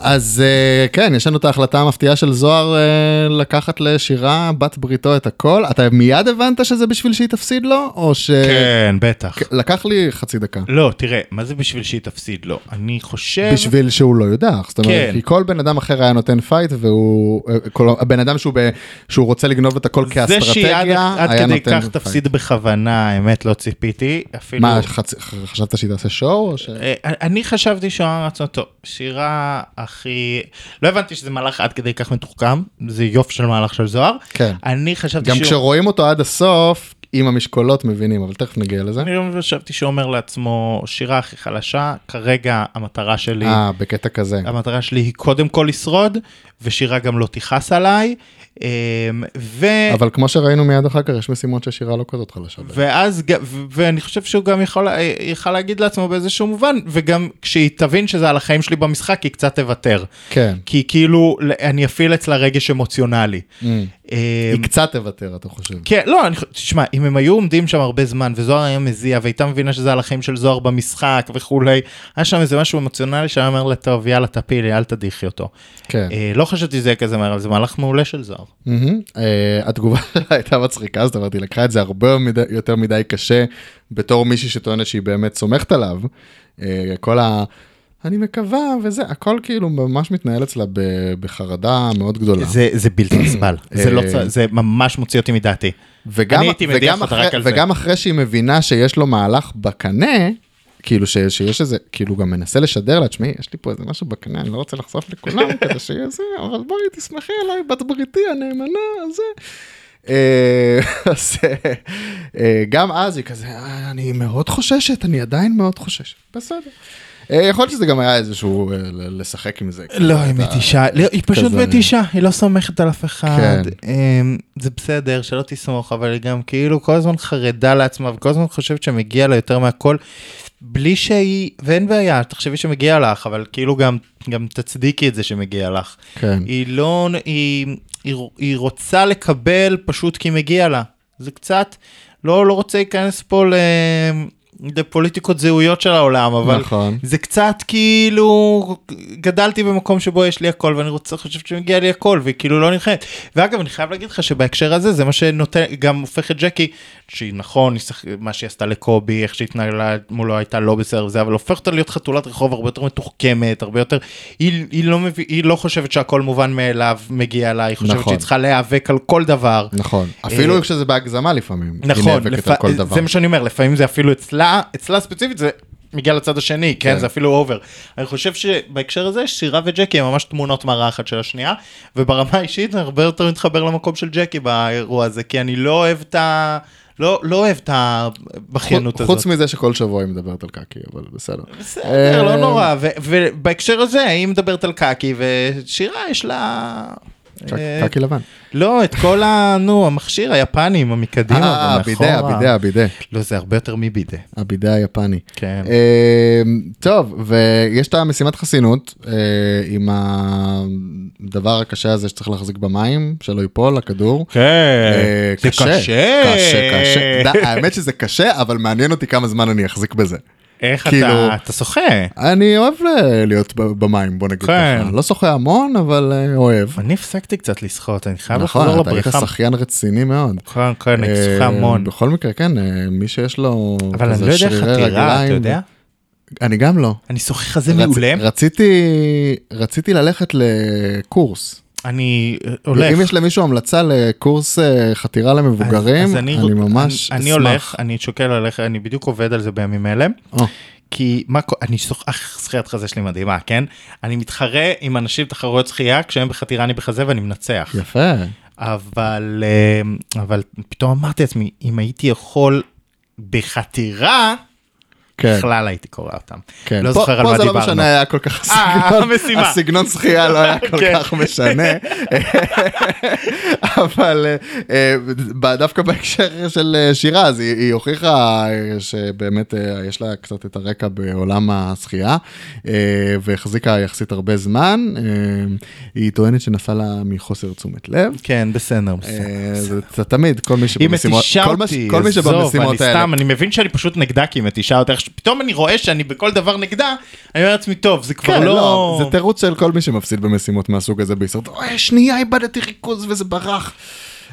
[SPEAKER 2] אז אה, כן, יש לנו את ההחלטה המפתיעה של זוהר אה, לקחת לשירה בת בריתו את הכל. אתה מיד הבנת שזה בשביל שהיא תפסיד לו? או ש...
[SPEAKER 3] כן, בטח.
[SPEAKER 2] לקח לי חצי דקה.
[SPEAKER 3] לא, תראה, מה זה בשביל שהיא תפסיד? לא. אני חושב...
[SPEAKER 2] בשביל שהוא לא יודח, זאת אומרת,
[SPEAKER 3] כן.
[SPEAKER 2] כי כל בן אדם אחר היה נותן פייט והוא, אה, כל הבן אדם שהוא, ב, שהוא רוצה לגנוב את הכל
[SPEAKER 3] זה שהיא עד
[SPEAKER 2] כאסטרטגיה,
[SPEAKER 3] עד
[SPEAKER 2] היה
[SPEAKER 3] כדי
[SPEAKER 2] נותן
[SPEAKER 3] כך
[SPEAKER 2] פייט.
[SPEAKER 3] תפסיד בכוונה, האמת, לא ציפיתי. אפילו...
[SPEAKER 2] מה, חצ... חשבת שהיא תעשה שואו? או ש...
[SPEAKER 3] אה, אני חשבתי שהעולם רצון טוב, שירה הכי... לא הבנתי שזה מהלך עד כדי כך מתוחכם, זה יופי של מהלך של זוהר.
[SPEAKER 2] כן.
[SPEAKER 3] אני חשבתי
[SPEAKER 2] גם
[SPEAKER 3] שהוא-
[SPEAKER 2] כשרואים אותו עד הסוף, עם המשקולות מבינים, אבל תכף נגיע לזה.
[SPEAKER 3] אני גם חשבתי שהוא אומר לעצמו, שירה הכי חלשה, כרגע המטרה שלי,
[SPEAKER 2] אה, בקטע כזה.
[SPEAKER 3] המטרה שלי היא קודם כל לשרוד, ושירה גם לא תכעס עליי, אמ, ו...
[SPEAKER 2] אבל כמו שראינו מיד אחר כך, יש משימות ששירה לא כזאת חלשה. בהן.
[SPEAKER 3] ואז, ג- ו- ואני חושב שהוא גם יכול, יכל להגיד לעצמו באיזשהו מובן, וגם כשהיא תבין שזה על החיים שלי במשחק, היא קצת תוותר.
[SPEAKER 2] כן.
[SPEAKER 3] כי כאילו אני אפעיל אצלה רגש אמוציונלי.
[SPEAKER 2] Mm.
[SPEAKER 3] אה,
[SPEAKER 2] היא קצת תוותר, אתה חושב.
[SPEAKER 3] כן, לא, אני, חו- תשמע, אם הם היו עומדים שם הרבה זמן וזוהר היה מזיע והייתה מבינה שזה על החיים של זוהר במשחק וכולי, היה שם איזה משהו אמוציונלי שהיה אומר לה, טוב, יאללה, תפילי, אל תדיחי אותו.
[SPEAKER 2] כן.
[SPEAKER 3] אה, לא חשבתי שזה יהיה כזה מהר, אבל זה מהלך מעולה של זוהר.
[SPEAKER 2] מהמם. אה, התגובה שלה הייתה מצחיקה, זאת אומרת, היא לקחה את זה הרבה מדי- יותר מדי קשה בתור מישהי שטוענת שהיא באמת סומכת עליו. אה, כל ה... אני מקווה וזה, הכל כאילו ממש מתנהל אצלה ב- בחרדה מאוד גדולה.
[SPEAKER 3] זה, זה בלתי נסבל, זה, לא,
[SPEAKER 2] אה,
[SPEAKER 3] צ- זה ממש מוציא אותי מדעתי.
[SPEAKER 2] וגם,
[SPEAKER 3] אני הייתי מדיח
[SPEAKER 2] וגם,
[SPEAKER 3] אותה
[SPEAKER 2] אחרי,
[SPEAKER 3] רק על זה.
[SPEAKER 2] וגם אחרי שהיא מבינה שיש לו מהלך בקנה, כאילו ש, שיש איזה, כאילו גם מנסה לשדר לה, תשמעי, יש לי פה איזה משהו בקנה, אני לא רוצה לחשוף לכולם כדי שיהיה זה, אבל בואי תסמכי עליי, בת בריתי הנאמנה, זה. אה, אז אה, גם אז היא כזה, "אה, אני מאוד חוששת, אני עדיין מאוד חוששת. בסדר. אה, יכול להיות שזה גם היה איזשהו אה, ל- לשחק עם זה.
[SPEAKER 3] לא, היא מתישה, לא, היא פשוט
[SPEAKER 2] כזה.
[SPEAKER 3] מתישה, היא לא סומכת על אף אחד.
[SPEAKER 2] אה, כן.
[SPEAKER 3] אמ, זה בסדר, שלא תסמוך, אבל היא גם כאילו כל הזמן חרדה לעצמה, וכל הזמן חושבת שמגיע לה יותר מהכל, בלי שהיא, ואין בעיה, תחשבי שמגיע לך, אבל כאילו גם, גם תצדיקי את זה שמגיע לך.
[SPEAKER 2] כן.
[SPEAKER 3] היא לא, היא, היא, היא רוצה לקבל פשוט כי מגיע לה. זה קצת, לא, לא רוצה להיכנס פה ל... לפוליטיקות זהויות של העולם, אבל
[SPEAKER 2] נכון.
[SPEAKER 3] זה קצת כאילו גדלתי במקום שבו יש לי הכל ואני רוצה חושב שמגיע לי הכל וכאילו לא נלחמת. ואגב אני חייב להגיד לך שבהקשר הזה זה מה שנותן גם הופך את ג'קי שהיא נכון היא שח... מה שהיא עשתה לקובי איך שהתנהלה מולו הייתה לא בסדר וזה אבל הופך אותה להיות חתולת רחוב הרבה יותר מתוחכמת הרבה יותר היא, היא, לא, מב... היא לא חושבת שהכל מובן מאליו מגיע לה היא חושבת
[SPEAKER 2] נכון.
[SPEAKER 3] שהיא צריכה להיאבק על כל דבר.
[SPEAKER 2] נכון.
[SPEAKER 3] אה,
[SPEAKER 2] אפילו כשזה בהגזמה לפעמים. היא
[SPEAKER 3] נכון,
[SPEAKER 2] נאבקת
[SPEAKER 3] לפ...
[SPEAKER 2] על כל דבר.
[SPEAKER 3] זה מה שאני אומר, לפעמים זה אפילו אצלה, אצלה ספציפית זה מגיע לצד השני, כן,
[SPEAKER 2] כן.
[SPEAKER 3] זה אפילו אובר. אני חושב שבהקשר הזה שירה וג'קי הם ממש תמונות מראה אחת של השנייה, וברמה האישית אני הרבה יותר מתחבר למקום של ג'קי באירוע הזה, כי אני לא אוהב את ה... לא, לא אוהב את הבכיינות
[SPEAKER 2] חוץ-
[SPEAKER 3] הזאת.
[SPEAKER 2] חוץ מזה שכל שבוע היא מדברת על קקי, אבל בסדר.
[SPEAKER 3] בסדר, לא
[SPEAKER 2] אה,
[SPEAKER 3] נורא, ו- ובהקשר הזה היא מדברת על קקי, ושירה יש לה... אה,
[SPEAKER 2] קק- קקי לבן.
[SPEAKER 3] לא, את כל ה... נו, המכשיר היפני עם המקדימה ומאחורה.
[SPEAKER 2] אה, בידי, הבידי, הבידי.
[SPEAKER 3] לא, זה הרבה יותר מבידה.
[SPEAKER 2] הבידי היפני.
[SPEAKER 3] כן.
[SPEAKER 2] אה, טוב, ויש את המשימת חסינות אה, עם הדבר הקשה הזה שצריך להחזיק במים, שלא ייפול, הכדור.
[SPEAKER 3] כן,
[SPEAKER 2] אה, קשה, קשה. ד- האמת שזה קשה, אבל מעניין אותי כמה זמן אני אחזיק בזה.
[SPEAKER 3] איך
[SPEAKER 2] כאילו-
[SPEAKER 3] אתה, אתה שוחה.
[SPEAKER 2] אני אוהב ל- להיות ב- במים, בוא נגיד
[SPEAKER 3] כן.
[SPEAKER 2] ככה. לא שוחה המון, אבל אה, אוהב.
[SPEAKER 3] אני הפסקתי קצת לשחות, אני חייב
[SPEAKER 2] נכון,
[SPEAKER 3] לחזור
[SPEAKER 2] אתה היית
[SPEAKER 3] לבריכה.
[SPEAKER 2] שחיין רציני מאוד.
[SPEAKER 3] כן, כן, אני
[SPEAKER 2] אה,
[SPEAKER 3] שוחה המון.
[SPEAKER 2] בכל מקרה, כן, אה, מי שיש לו
[SPEAKER 3] אבל אני
[SPEAKER 2] כזה
[SPEAKER 3] לא יודע
[SPEAKER 2] שרירי
[SPEAKER 3] חתירה, אתה
[SPEAKER 2] רגליים-
[SPEAKER 3] יודע?
[SPEAKER 2] אני גם לא.
[SPEAKER 3] אני שוחה חזה
[SPEAKER 2] רצ-
[SPEAKER 3] מעולה,
[SPEAKER 2] רציתי, רציתי ללכת לקורס.
[SPEAKER 3] אני אה, הולך.
[SPEAKER 2] אם יש למישהו המלצה לקורס אה, חתירה למבוגרים,
[SPEAKER 3] אז
[SPEAKER 2] אני
[SPEAKER 3] רוצ-
[SPEAKER 2] ממש
[SPEAKER 3] אני-
[SPEAKER 2] אשמח.
[SPEAKER 3] אני הולך, אני שוקל ללכת, אני בדיוק עובד על זה בימים אלה.
[SPEAKER 2] או.
[SPEAKER 3] כי מה, קו- אני שוח, אך, שחיית חזה שלי מדהימה, כן? אני מתחרה עם אנשים בתחרויות שחייה, כשהם בחתירה אני בחזה ואני מנצח.
[SPEAKER 2] יפה.
[SPEAKER 3] אבל, אה, אבל פתאום אמרתי לעצמי, אם הייתי יכול בחתירה,
[SPEAKER 2] כן,
[SPEAKER 3] בכלל הייתי קורא אותם.
[SPEAKER 2] כן.
[SPEAKER 3] לא
[SPEAKER 2] פה-
[SPEAKER 3] זוכר על מה
[SPEAKER 2] פה זה לא
[SPEAKER 3] דיברנו.
[SPEAKER 2] משנה היה כל כך
[SPEAKER 3] אה,
[SPEAKER 2] הסגנון,
[SPEAKER 3] המשימה.
[SPEAKER 2] הסגנון זכייה לא היה כל
[SPEAKER 3] כן.
[SPEAKER 2] כך משנה. אבל אה, אה, ב- דווקא בהקשר של אה, שירה, אז היא היא הוכיחה אה, שבאמת אה, יש לה קצת את הרקע בעולם השחייה, אה, והחזיקה יחסית הרבה זמן. אה, היא טוענת שנפל לה מחוסר תשומת לב.
[SPEAKER 3] כן, בסדר, בסדר.
[SPEAKER 2] אה, זה זה תמיד, כל מי
[SPEAKER 3] היא
[SPEAKER 2] שבמשימות,
[SPEAKER 3] מתישה
[SPEAKER 2] כל מה ש-
[SPEAKER 3] אותי,
[SPEAKER 2] כל מי
[SPEAKER 3] עזוב, אני
[SPEAKER 2] שבמשימות האלה,
[SPEAKER 3] סתם, אני מבין שאני פשוט נגדה כי היא מתישה אותי, איך ש- פתאום אני רואה שאני בכל דבר נגדה, אני אומר לעצמי, טוב, זה כבר
[SPEAKER 2] כן, לא,
[SPEAKER 3] לא...
[SPEAKER 2] זה תירוץ של כל מי שמפסיד במשימות מהסוג הזה בישראל. אוי, שנייה איבדתי ריכוז וזה ברח.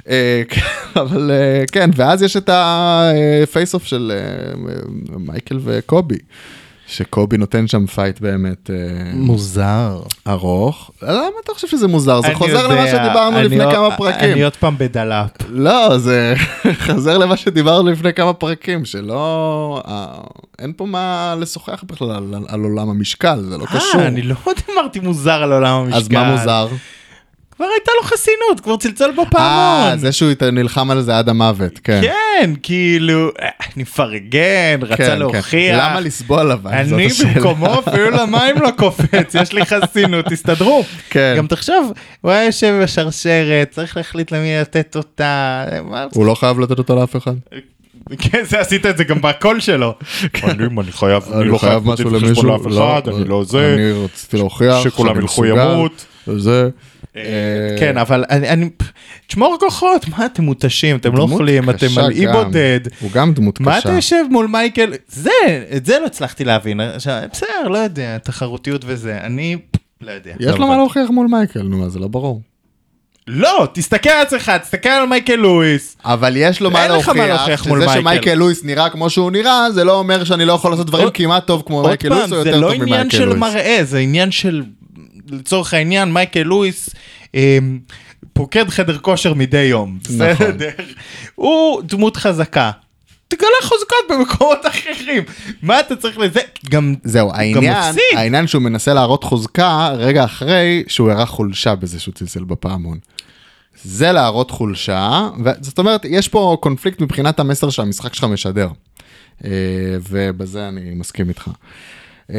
[SPEAKER 2] אה, כן, אבל אה, כן, ואז יש את הפייס אוף של אה, אה, מייקל וקובי, שקובי נותן שם פייט באמת אה,
[SPEAKER 3] מוזר.
[SPEAKER 2] ארוך. למה אתה חושב שזה מוזר? זה
[SPEAKER 3] אני
[SPEAKER 2] חוזר
[SPEAKER 3] יודע,
[SPEAKER 2] למה שדיברנו
[SPEAKER 3] אני
[SPEAKER 2] לפני
[SPEAKER 3] עוד-
[SPEAKER 2] כמה פרקים.
[SPEAKER 3] אני עוד פעם בדלאפ.
[SPEAKER 2] לא, זה חזר למה שדיברנו לפני כמה פרקים, שלא... אה, אין פה מה לשוחח בכלל על- על עולם המשקל, זה לא קשור.
[SPEAKER 3] אה, אני לא עוד אמרתי מוזר על עולם המשקל.
[SPEAKER 2] אז מה מוזר?
[SPEAKER 3] כבר הייתה לו חסינות, כבר צלצל
[SPEAKER 2] אה,
[SPEAKER 3] בפעמון.
[SPEAKER 2] זה שהוא ית- נלחם על זה עד המוות, כן.
[SPEAKER 3] כן, כאילו, אה, אני מפרגן,
[SPEAKER 2] כן,
[SPEAKER 3] רצה
[SPEAKER 2] כן.
[SPEAKER 3] להוכיח.
[SPEAKER 2] למה לסבול אבל? זאת
[SPEAKER 3] אני
[SPEAKER 2] השאלה.
[SPEAKER 3] במקומו אפילו למים לא קופץ, יש לי חסינות, תסתדרו.
[SPEAKER 2] כן.
[SPEAKER 3] גם תחשוב, הוא היה יושב בשרשרת, צריך להחליט למי לתת אותה. מה-
[SPEAKER 2] הוא לא חייב לתת אותה לאף אחד.
[SPEAKER 3] כן, זה עשית את זה גם בקול שלו. אני אני חייב,
[SPEAKER 2] אני לא חייב משהו
[SPEAKER 3] לתת
[SPEAKER 2] למישהו.
[SPEAKER 3] חשבון לאף אחד, אני לא זה.
[SPEAKER 2] אני רציתי להוכיח
[SPEAKER 3] שכולם
[SPEAKER 2] שאני
[SPEAKER 3] ילכו
[SPEAKER 2] מסוגל,
[SPEAKER 3] ימות.
[SPEAKER 2] זה.
[SPEAKER 3] אה, כן, אבל אני, אני- תשמור כוחות, מה אתם מותשים, אתם לא
[SPEAKER 2] דמות
[SPEAKER 3] אוכלים, אתם
[SPEAKER 2] קשה
[SPEAKER 3] על אי
[SPEAKER 2] גם.
[SPEAKER 3] בודד.
[SPEAKER 2] הוא גם דמות
[SPEAKER 3] מה אתה
[SPEAKER 2] קשה.
[SPEAKER 3] יושב מול מייקל? זה, את זה לא הצלחתי להבין. עכשיו, בסדר, לא יודע, תחרותיות וזה, אני לא יודע.
[SPEAKER 2] יש
[SPEAKER 3] לא
[SPEAKER 2] לו מה
[SPEAKER 3] הבנתי.
[SPEAKER 2] להוכיח מול מייקל, נו, אז זה לא ברור.
[SPEAKER 3] לא, תסתכל על עצמך, תסתכל על מייקל לואיס.
[SPEAKER 2] אבל יש לו מה
[SPEAKER 3] אין לך מה
[SPEAKER 2] להוכיח,
[SPEAKER 3] להוכיח מול
[SPEAKER 2] שזה
[SPEAKER 3] מייקל.
[SPEAKER 2] שמייקל לואיס נראה כמו שהוא נראה, זה לא אומר שאני לא יכול לעשות דברים
[SPEAKER 3] עוד-
[SPEAKER 2] כמעט טוב כמו
[SPEAKER 3] עוד
[SPEAKER 2] מייקל לואיס
[SPEAKER 3] פעם,
[SPEAKER 2] או
[SPEAKER 3] זה
[SPEAKER 2] יותר
[SPEAKER 3] לא
[SPEAKER 2] טוב
[SPEAKER 3] עניין
[SPEAKER 2] ממייקל
[SPEAKER 3] של
[SPEAKER 2] לואיס.
[SPEAKER 3] מראה, זה עניין של, לצורך העניין, מייקל לואיס אמ, פוקד חדר כושר מדי יום.
[SPEAKER 2] נכון.
[SPEAKER 3] בסדר. הוא דמות חזקה. תגלה חוזקות במקומות אחרים. מה אתה צריך לזה? גם
[SPEAKER 2] זהו, העניין,
[SPEAKER 3] מפסיד.
[SPEAKER 2] העניין שהוא מנסה להראות חוזקה רגע אחרי שהוא הראה חולשה בזה שהוא צלצל בפעמון. זה להראות חולשה, ו- זאת אומרת, יש פה קונפליקט מבחינת המסר שהמשחק שלך משדר. אה, ובזה אני מסכים איתך. אה,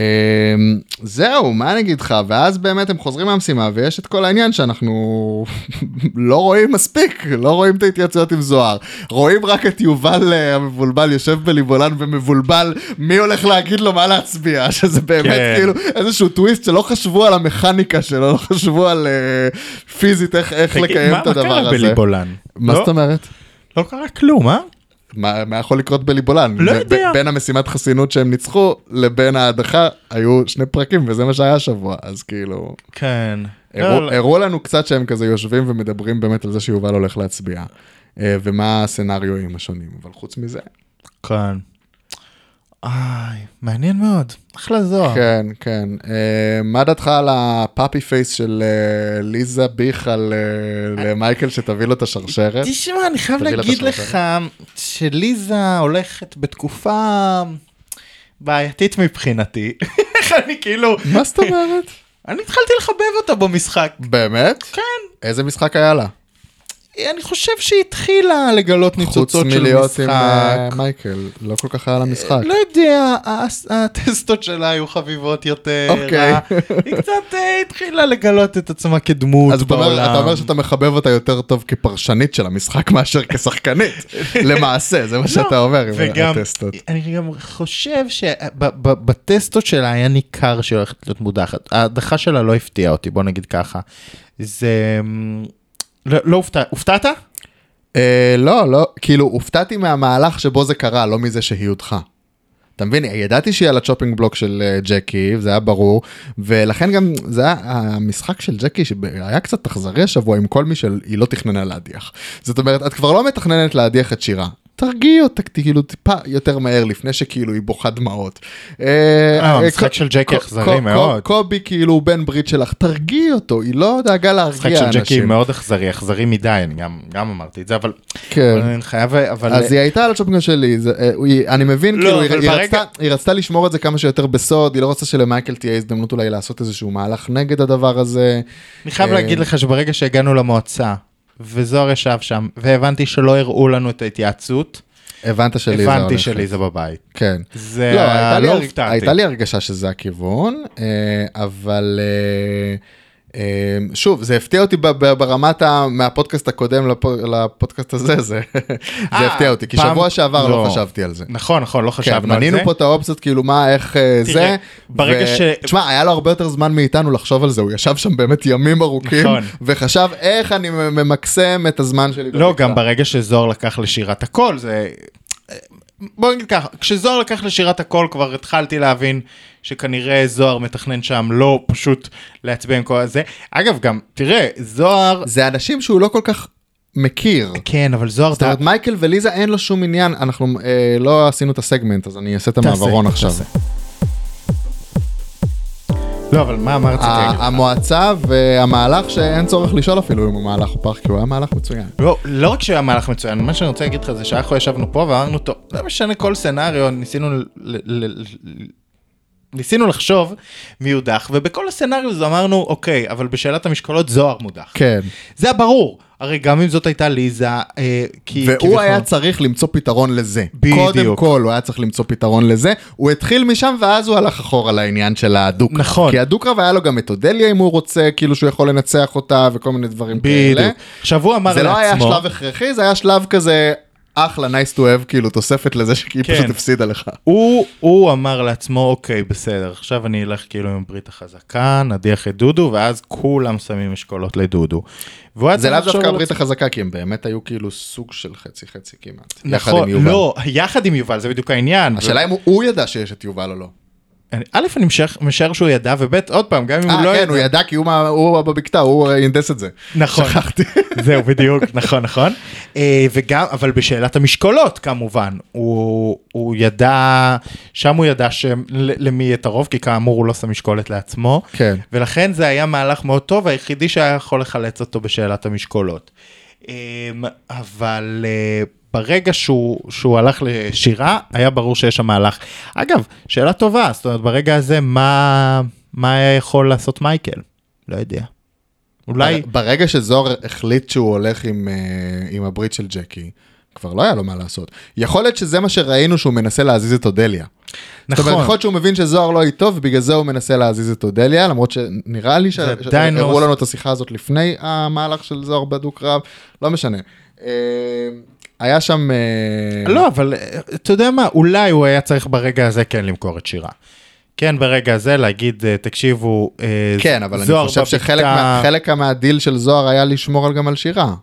[SPEAKER 2] זהו, מה אני אגיד לך? ואז באמת הם חוזרים מהמשימה, ויש את כל העניין שאנחנו לא רואים מספיק, לא רואים את ההתייעצויות עם זוהר. רואים רק את יובל אה, המבולבל יושב בליבולן ומבולבל, מי הולך להגיד לו מה להצביע, שזה באמת
[SPEAKER 3] כן.
[SPEAKER 2] כאילו איזשהו טוויסט שלא חשבו על המכניקה שלו, לא חשבו על אה, פיזית איך, איך
[SPEAKER 3] תגיד,
[SPEAKER 2] לקיים
[SPEAKER 3] מה-
[SPEAKER 2] את הדבר
[SPEAKER 3] מה קרה
[SPEAKER 2] הזה.
[SPEAKER 3] בליבולן?
[SPEAKER 2] מה
[SPEAKER 3] לא-
[SPEAKER 2] זאת אומרת?
[SPEAKER 3] לא קרה כלום, אה?
[SPEAKER 2] מה, מה יכול לקרות בליבולן?
[SPEAKER 3] לא
[SPEAKER 2] ב-
[SPEAKER 3] יודע.
[SPEAKER 2] ב- בין המשימת חסינות שהם ניצחו לבין ההדחה היו שני פרקים וזה מה שהיה השבוע, אז כאילו...
[SPEAKER 3] כן.
[SPEAKER 2] הראו-
[SPEAKER 3] לא, לא.
[SPEAKER 2] הראו לנו קצת שהם כזה יושבים ומדברים באמת על זה שיובל הולך להצביע. אה, ומה הסצנריואים השונים, אבל חוץ מזה,
[SPEAKER 3] כן. איי, מעניין מאוד. אחלה זוהר.
[SPEAKER 2] כן, כן. אה, מה דעתך על הפאפי פייס של אה, ליזה ביך על אה, למייקל שתביא לו את השרשרת?
[SPEAKER 3] תשמע, אני חייב
[SPEAKER 2] תביא לה את
[SPEAKER 3] להגיד לך
[SPEAKER 2] השלושה.
[SPEAKER 3] שליזה הולכת בתקופה בעייתית מבחינתי. איך אני כאילו,
[SPEAKER 2] מה זאת אומרת?
[SPEAKER 3] אני התחלתי לחבב אותה במשחק.
[SPEAKER 2] באמת?
[SPEAKER 3] כן,
[SPEAKER 2] איזה משחק היה לה?
[SPEAKER 3] אני חושב שהיא התחילה לגלות
[SPEAKER 2] חוץ
[SPEAKER 3] ניצוצות של
[SPEAKER 2] מלהיות עם אה,
[SPEAKER 3] משחק.
[SPEAKER 2] מייקל, לא כל כך היה לה משחק.
[SPEAKER 3] לא יודע, הס- הטסטות שלה היו חביבות יותר.
[SPEAKER 2] אוקיי.
[SPEAKER 3] ה- היא קצת אה, התחילה לגלות את עצמה כדמות
[SPEAKER 2] אז אתה אומר-
[SPEAKER 3] בעולם.
[SPEAKER 2] אתה אומר שאתה מחבב אותה יותר טוב כפרשנית של המשחק מאשר כשחקנית, למעשה, זה מה שאתה אומר עם
[SPEAKER 3] לא, וגם,
[SPEAKER 2] הטסטות.
[SPEAKER 3] אני גם חושב שבטסטות שלה היה ניכר שהיא הולכת להיות מודחת. ההדחה שלה לא הפתיעה אותי, בוא נגיד ככה. זה... אמ, לא לא הופתע, הופתעת?
[SPEAKER 2] אה, לא, לא, כאילו הופתעתי מהמהלך שבו זה קרה, לא מזה שהיא הודחה. אתה מבין, ידעתי שהיא על הצ'ופינג בלוק של אה, ג'קי, זה היה ברור, ולכן גם זה היה המשחק של ג'קי שהיה קצת אכזרי השבוע עם כל מי שהיא לא תכננה להדיח. זאת אומרת, את כבר לא מתכננת להדיח את שירה. תרגיעי אותה כאילו טיפה יותר מהר לפני שכאילו היא בוכה דמעות. אה, אה,
[SPEAKER 3] המשחק
[SPEAKER 2] ק-
[SPEAKER 3] של ג'קי
[SPEAKER 2] ק-
[SPEAKER 3] אכזרי
[SPEAKER 2] ק- ק-
[SPEAKER 3] מאוד.
[SPEAKER 2] קובי כאילו הוא בן ברית שלך, תרגיעי אותו, היא לא דאגה
[SPEAKER 3] המשחק
[SPEAKER 2] להרגיע
[SPEAKER 3] של ג'קי
[SPEAKER 2] אנשים.
[SPEAKER 3] מאוד אכזרי, אכזרי מדי, אני גם גם אמרתי את זה, אבל...
[SPEAKER 2] כן.
[SPEAKER 3] אבל אני חייב, אבל...
[SPEAKER 2] אז היא הייתה על השופינג שלי, זה, אה, היא- אני מבין,
[SPEAKER 3] לא,
[SPEAKER 2] כאילו, היא-
[SPEAKER 3] אבל
[SPEAKER 2] היא
[SPEAKER 3] ברגע-
[SPEAKER 2] רצתה- היא רצתה לשמור את זה כמה שיותר בסוד, היא לא רצתה שלמייקל תהיה הזדמנות אולי לעשות איזשהו מהלך נגד הדבר הזה.
[SPEAKER 3] אני חייב
[SPEAKER 2] אה,
[SPEAKER 3] להגיד לך שברגע שהגענו למועצה, וזוהר ישב שם, והבנתי שלא הראו לנו את ההתייעצות,
[SPEAKER 2] הבנת שלי זה
[SPEAKER 3] הבנתי שליזה בבית.
[SPEAKER 2] כן.
[SPEAKER 3] זה
[SPEAKER 2] לא, הייתה לי
[SPEAKER 3] לא
[SPEAKER 2] הר-
[SPEAKER 3] הופתעתי.
[SPEAKER 2] הייתה לי הרגשה שזה הכיוון, אה, אבל אה, אה, שוב, זה הפתיע אותי ב- ב- ברמת ה... מהפודקאסט הקודם לפו- לפודקאסט הזה, זה זה
[SPEAKER 3] אה,
[SPEAKER 2] הפתיע אותי, כי
[SPEAKER 3] פעם-
[SPEAKER 2] שבוע שעבר לא
[SPEAKER 3] לא.
[SPEAKER 2] חשבתי על זה.
[SPEAKER 3] נכון, נכון, לא
[SPEAKER 2] כן,
[SPEAKER 3] חשבנו על זה.
[SPEAKER 2] מנינו פה את האופציות, כאילו מה, איך אה,
[SPEAKER 3] תראה,
[SPEAKER 2] זה.
[SPEAKER 3] ברגע
[SPEAKER 2] ו-
[SPEAKER 3] ש-
[SPEAKER 2] תשמע, היה לו הרבה יותר זמן מאיתנו לחשוב על זה, הוא ישב שם באמת ימים ארוכים,
[SPEAKER 3] נכון.
[SPEAKER 2] וחשב איך אני ממקסם את הזמן שלי.
[SPEAKER 3] לא,
[SPEAKER 2] במקטע."
[SPEAKER 3] גם ברגע שזוהר לקח לשירת הקול, זה... בוא נגיד ככה, כשזוהר לקח לשירת הקול כבר התחלתי להבין שכנראה זוהר מתכנן שם לא פשוט להצביע עם כל הזה. אגב, גם, תראה, זוהר...
[SPEAKER 2] זה אנשים שהוא לא כל כך מכיר.
[SPEAKER 3] כן, אבל זוהר...
[SPEAKER 2] זאת אומרת, מייקל וליזה אין לו שום עניין, אנחנו אה, לא עשינו את הסגמנט, אז אני אעשה את המעברון
[SPEAKER 3] תעשה,
[SPEAKER 2] עכשיו.
[SPEAKER 3] לא, אבל מה אמרת?
[SPEAKER 2] ה- המועצה והמהלך שאין צורך לשאול אפילו אם המהלך הוא פח, כי הוא היה מהלך מצוין.
[SPEAKER 3] לא, לא רק שהיה מהלך מצוין, מה שאני רוצה להגיד לך זה שאנחנו ישבנו פה ואמרנו, טוב, לא משנה כל סצנריו, ניסינו, ל- ל- ל- ל- ניסינו לחשוב מי יודח, ובכל הסצנריו הזה אמרנו, אוקיי, אבל בשאלת המשקולות זוהר מודח.
[SPEAKER 2] כן.
[SPEAKER 3] זה היה ברור, הרי גם אם זאת הייתה ליזה, אה, כי...
[SPEAKER 2] והוא
[SPEAKER 3] כביכול-
[SPEAKER 2] היה צריך למצוא פתרון לזה.
[SPEAKER 3] בדיוק.
[SPEAKER 2] קודם כל הוא היה צריך למצוא פתרון לזה, הוא התחיל משם ואז הוא הלך אחורה לעניין של הדו-קרב.
[SPEAKER 3] נכון.
[SPEAKER 2] כי הדו-קרב היה לו גם את אודליה אם הוא רוצה, כאילו שהוא יכול לנצח אותה וכל מיני דברים כאלה.
[SPEAKER 3] בדיוק. עכשיו הוא אמר
[SPEAKER 2] זה
[SPEAKER 3] לעצמו...
[SPEAKER 2] לא היה שלב הכרחי, זה היה שלב כזה אחלה, nice to have, כאילו תוספת לזה שהיא
[SPEAKER 3] כן.
[SPEAKER 2] פשוט הפסידה לך.
[SPEAKER 3] הוא, הוא אמר לעצמו, אוקיי, בסדר, עכשיו אני אלך כאילו עם הברית החזקה, נדיח את דודו, ואז כולם שמים אשכולות לדודו. והוא היה
[SPEAKER 2] זה
[SPEAKER 3] צריך
[SPEAKER 2] לאו
[SPEAKER 3] לחשוב
[SPEAKER 2] דווקא
[SPEAKER 3] על
[SPEAKER 2] הברית
[SPEAKER 3] עצמו-
[SPEAKER 2] החזקה, כי הם באמת היו כאילו סוג של חצי חצי כמעט. יחד עם
[SPEAKER 3] נכון,
[SPEAKER 2] יובל.
[SPEAKER 3] לא, יחד עם יובל, זה בדיוק העניין.
[SPEAKER 2] השאלה אם הוא- הוא ידע שיש את יובל או לא.
[SPEAKER 3] אני- א', אני משער- משער שהוא ידע, וב', עוד פעם, גם אם הוא
[SPEAKER 2] אה,
[SPEAKER 3] לא
[SPEAKER 2] כן, הוא ידע כי הוא מה- הוא בבקתה, הוא אה, הנדס את זה.
[SPEAKER 3] נכון.
[SPEAKER 2] שכחתי.
[SPEAKER 3] זהו, בדיוק, נכון, נכון. אה, וגם, אבל בשאלת המשקולות, כמובן, הוא, הוא ידע, שם הוא ידע ש- ל- למי יהיה את הרוב, כי כאמור הוא לא שם משקולת לעצמו.
[SPEAKER 2] כן.
[SPEAKER 3] ולכן זה היה מהלך מאוד טוב, היחידי שהיה יכול לחלץ אותו בשאלת המשקולות. אמ, אבל אה, ברגע שהוא, שהוא הלך לשירה, היה ברור שיש שם מהלך. אגב, שאלה טובה, זאת אומרת, ברגע הזה, מה, מה היה יכול לעשות מייקל? לא יודע. אולי...
[SPEAKER 2] בר- ברגע שזוהר החליט שהוא הולך עם, אה, עם הברית של ג'קי, כבר לא היה לו מה לעשות. יכול להיות שזה מה שראינו שהוא מנסה להזיז את אודליה. זאת אומרת,
[SPEAKER 3] נכון.
[SPEAKER 2] יכול להיות שהוא מבין שזוהר לא איתו, ובגלל זה הוא מנסה להזיז את אודליה, למרות שנראה לי ש-
[SPEAKER 3] זה
[SPEAKER 2] ש-
[SPEAKER 3] עדיין לא
[SPEAKER 2] הראו
[SPEAKER 3] מס-
[SPEAKER 2] לנו את השיחה הזאת לפני המהלך של זוהר בדו-קרב, לא משנה. אה, היה שם... אה,
[SPEAKER 3] לא, אבל אה, אתה יודע מה, אולי הוא היה צריך ברגע הזה כן למכור את שירה. כן, ברגע הזה להגיד, אה, תקשיבו, אה,
[SPEAKER 2] כן, אבל אני
[SPEAKER 3] זוהר
[SPEAKER 2] חושב
[SPEAKER 3] בבקתה-
[SPEAKER 2] שחלק מה- חלק מהדיל של זוהר היה לשמור על- גם על שירה.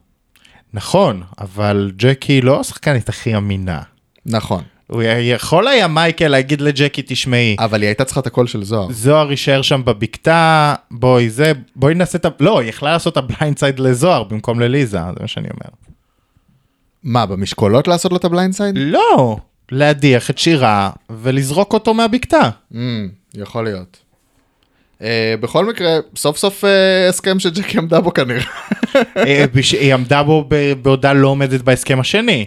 [SPEAKER 3] נכון, אבל ג'קי לא השחקנית הכי אמינה.
[SPEAKER 2] נכון,
[SPEAKER 3] הוא היה- יכול היה מייקל להגיד לג'קי, תשמעי,
[SPEAKER 2] אבל היא הייתה צריכה את הקול של זוהר.
[SPEAKER 3] זוהר יישאר שם בבקתה, בואי זה, בואי נעשה את ה... לא, היא יכלה לעשות את הבליינד סייד לזוהר במקום לליזה, זה מה שאני אומר.
[SPEAKER 2] מה, במשקולות לעשות לו את הבליינד סייד?
[SPEAKER 3] לא, להדיח את שירה ולזרוק אותו מהבקתה.
[SPEAKER 2] Mm, יכול להיות. Uh, בכל מקרה, סוף סוף uh, הסכם שג'קי עמדה בו כנראה.
[SPEAKER 3] אה, בש- היא עמדה בו ב- בעודה לא עומדת בהסכם השני,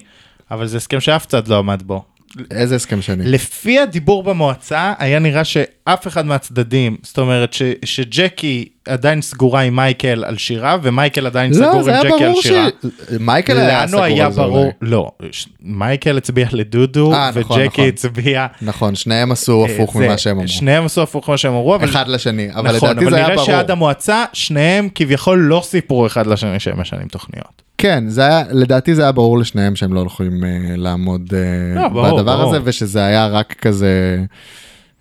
[SPEAKER 3] אבל זה הסכם שאף צד לא עמד בו.
[SPEAKER 2] איזה הסכם שני?
[SPEAKER 3] לפי הדיבור במועצה, היה נראה שאף אחד מהצדדים, זאת אומרת ש, שג'קי עדיין סגורה עם מייקל על שירה, ומייקל עדיין סגור
[SPEAKER 2] לא, זה
[SPEAKER 3] עם
[SPEAKER 2] היה
[SPEAKER 3] ג'קי על
[SPEAKER 2] ברור ש...
[SPEAKER 3] שירה.
[SPEAKER 2] מייקל היה
[SPEAKER 3] לנו
[SPEAKER 2] סגור
[SPEAKER 3] היה
[SPEAKER 2] על זה
[SPEAKER 3] ברור,
[SPEAKER 2] אולי.
[SPEAKER 3] לא, ש- מייקל הצביע לדודו,
[SPEAKER 2] אה, נכון, נכון.
[SPEAKER 3] וג'קי הצביע...
[SPEAKER 2] נכון, שניהם עשו
[SPEAKER 3] אה,
[SPEAKER 2] הפוך
[SPEAKER 3] זה.
[SPEAKER 2] ממה שהם אמרו.
[SPEAKER 3] שניהם עשו הפוך ממה שהם אמרו, אבל...
[SPEAKER 2] אחד לשני, אבל
[SPEAKER 3] נכון,
[SPEAKER 2] לדעתי
[SPEAKER 3] אבל
[SPEAKER 2] זה היה
[SPEAKER 3] נראה
[SPEAKER 2] ברור.
[SPEAKER 3] שעד המועצה, שניהם כביכול לא סיפרו אחד לשני שהם משנים תוכניות.
[SPEAKER 2] כן, זה היה, לדעתי זה היה ברור לשניהם שהם לא יכולים אה, לעמוד אה,
[SPEAKER 3] לא, ברור,
[SPEAKER 2] בדבר
[SPEAKER 3] ברור.
[SPEAKER 2] הזה, ושזה היה רק כזה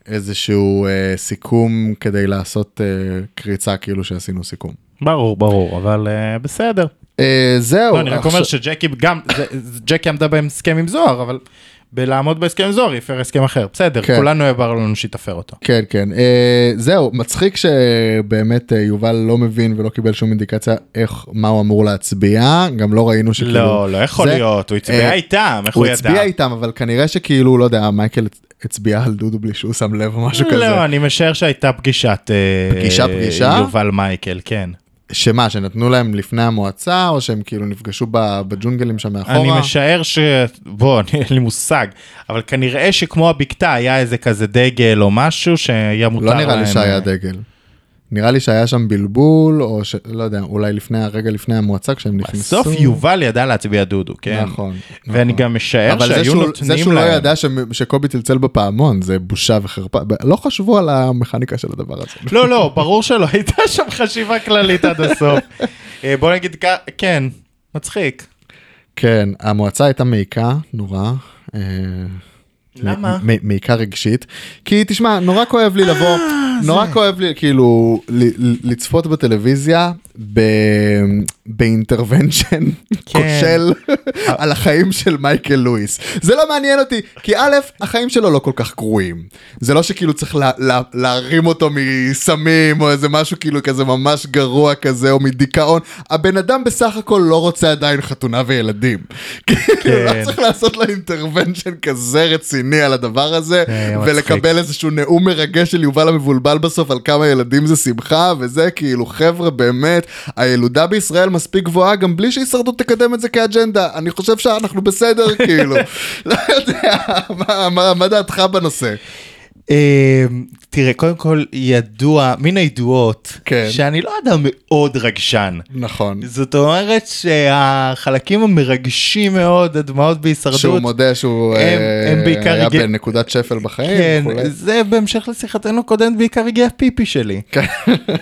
[SPEAKER 2] איזשהו אה, סיכום כדי לעשות אה, קריצה כאילו שעשינו סיכום.
[SPEAKER 3] ברור, ברור, אבל אה, בסדר.
[SPEAKER 2] אה, זהו.
[SPEAKER 3] לא, אני רק
[SPEAKER 2] עכשיו-
[SPEAKER 3] אומר שג'קי גם, זה- זה- ג'קי עמדה בהסכם עם זוהר, אבל בלעמוד בהסכם עם זוהר היא הפרה הסכם אחר. בסדר,
[SPEAKER 2] כן.
[SPEAKER 3] כולנו העברנו לנו שהיא תפר אותו.
[SPEAKER 2] כן כן אה, זהו מצחיק שבאמת אה, יובל לא מבין ולא קיבל שום אינדיקציה איך מה הוא אמור להצביע גם לא ראינו שכאילו
[SPEAKER 3] לא, לא יכול
[SPEAKER 2] זה-
[SPEAKER 3] להיות, הוא הצביע
[SPEAKER 2] אה,
[SPEAKER 3] איתם, איך
[SPEAKER 2] הוא
[SPEAKER 3] הוא ידע?
[SPEAKER 2] הצביע איתם אבל כנראה שכאילו לא יודע מייקל הצביע על דודו בלי שהוא שם לב או משהו כזה
[SPEAKER 3] לא, אני משער שהייתה פגישת... אה,
[SPEAKER 2] פגישה, פגישה?
[SPEAKER 3] יובל מייקל, כן.
[SPEAKER 2] שמה שנתנו להם לפני המועצה או שהם כאילו נפגשו ב- בג'ונגלים שם
[SPEAKER 3] אני
[SPEAKER 2] מאחורה
[SPEAKER 3] משער ש... בוא, אני- אין לי מושג, אבל כנראה שכמו הבקתה היה איזה כזה דגל או משהו שהיה מותר
[SPEAKER 2] לא
[SPEAKER 3] להם...
[SPEAKER 2] נראה לי שהיה
[SPEAKER 3] אה,
[SPEAKER 2] דגל. נראה לי שהיה שם בלבול או שלא יודע אולי לפני הרגע לפני המועצה כשהם נכנסו.
[SPEAKER 3] בסוף יובל ידע להצביע דודו, כן?
[SPEAKER 2] נכון.
[SPEAKER 3] ואני
[SPEAKER 2] נכון.
[SPEAKER 3] גם משער
[SPEAKER 2] אבל זה
[SPEAKER 3] שהיו
[SPEAKER 2] שהוא, זה
[SPEAKER 3] נותנים
[SPEAKER 2] שהוא לא
[SPEAKER 3] להם.
[SPEAKER 2] ידע ש, שקובי צלצל בפעמון זה בושה וחרפה ב- לא חשבו על המכניקה של הדבר הזה.
[SPEAKER 3] לא, לא, ברור שלא, הייתה שם חשיבה כללית עד הסוף. אה, בוא נגיד, כ- כן, מצחיק.
[SPEAKER 2] כן המועצה הייתה מעיקה נורא. אה,
[SPEAKER 3] למה?
[SPEAKER 2] מ- מ- מעיקה רגשית כי תשמע נורא כואב לי לבוא נורא כואב לי כאילו ל- ל- לצפות בטלוויזיה ב- באינטרוונשן כושל על החיים של מייקל לואיס זה לא מעניין אותי כי א' החיים שלו לא כל כך גרועים זה לא שכאילו צריך לה- לה- להרים אותו מסמים או איזה משהו כאילו כזה ממש גרוע כזה או מדיכאון הבן אדם בסך הכל לא רוצה עדיין חתונה וילדים. כאילו לא צריך לעשות לו אינטרוונשן כזה רציני על הדבר הזה
[SPEAKER 3] היה אה, מצחיק.
[SPEAKER 2] ולקבל איזשהו נאום מרגש של יובל המבולבל בסוף על כמה ילדים זה שמחה וזה כאילו חבר'ה באמת הילודה בישראל מספיק גבוהה גם בלי שהישרדות תקדם את זה כאג'נדה אני חושב שאנחנו בסדר כאילו לא יודע מה- מה- מה דעתך בנושא
[SPEAKER 3] אה, תראה, קודם כל, ידוע, מן הידועות,
[SPEAKER 2] כן.
[SPEAKER 3] שאני לא אדם מאוד רגשן.
[SPEAKER 2] נכון
[SPEAKER 3] זאת אומרת שהחלקים המרגשים מאוד, הדמעות בהישרדות,
[SPEAKER 2] שהוא מודה שהוא
[SPEAKER 3] הם-
[SPEAKER 2] אה,
[SPEAKER 3] הם בעיקר
[SPEAKER 2] היה
[SPEAKER 3] הגיע-
[SPEAKER 2] בנקודת שפל בחיים
[SPEAKER 3] כן,
[SPEAKER 2] וכולי.
[SPEAKER 3] זה בהמשך לשיחתנו הקודמת בעיקר הגיע הפיפי שלי.
[SPEAKER 2] כן.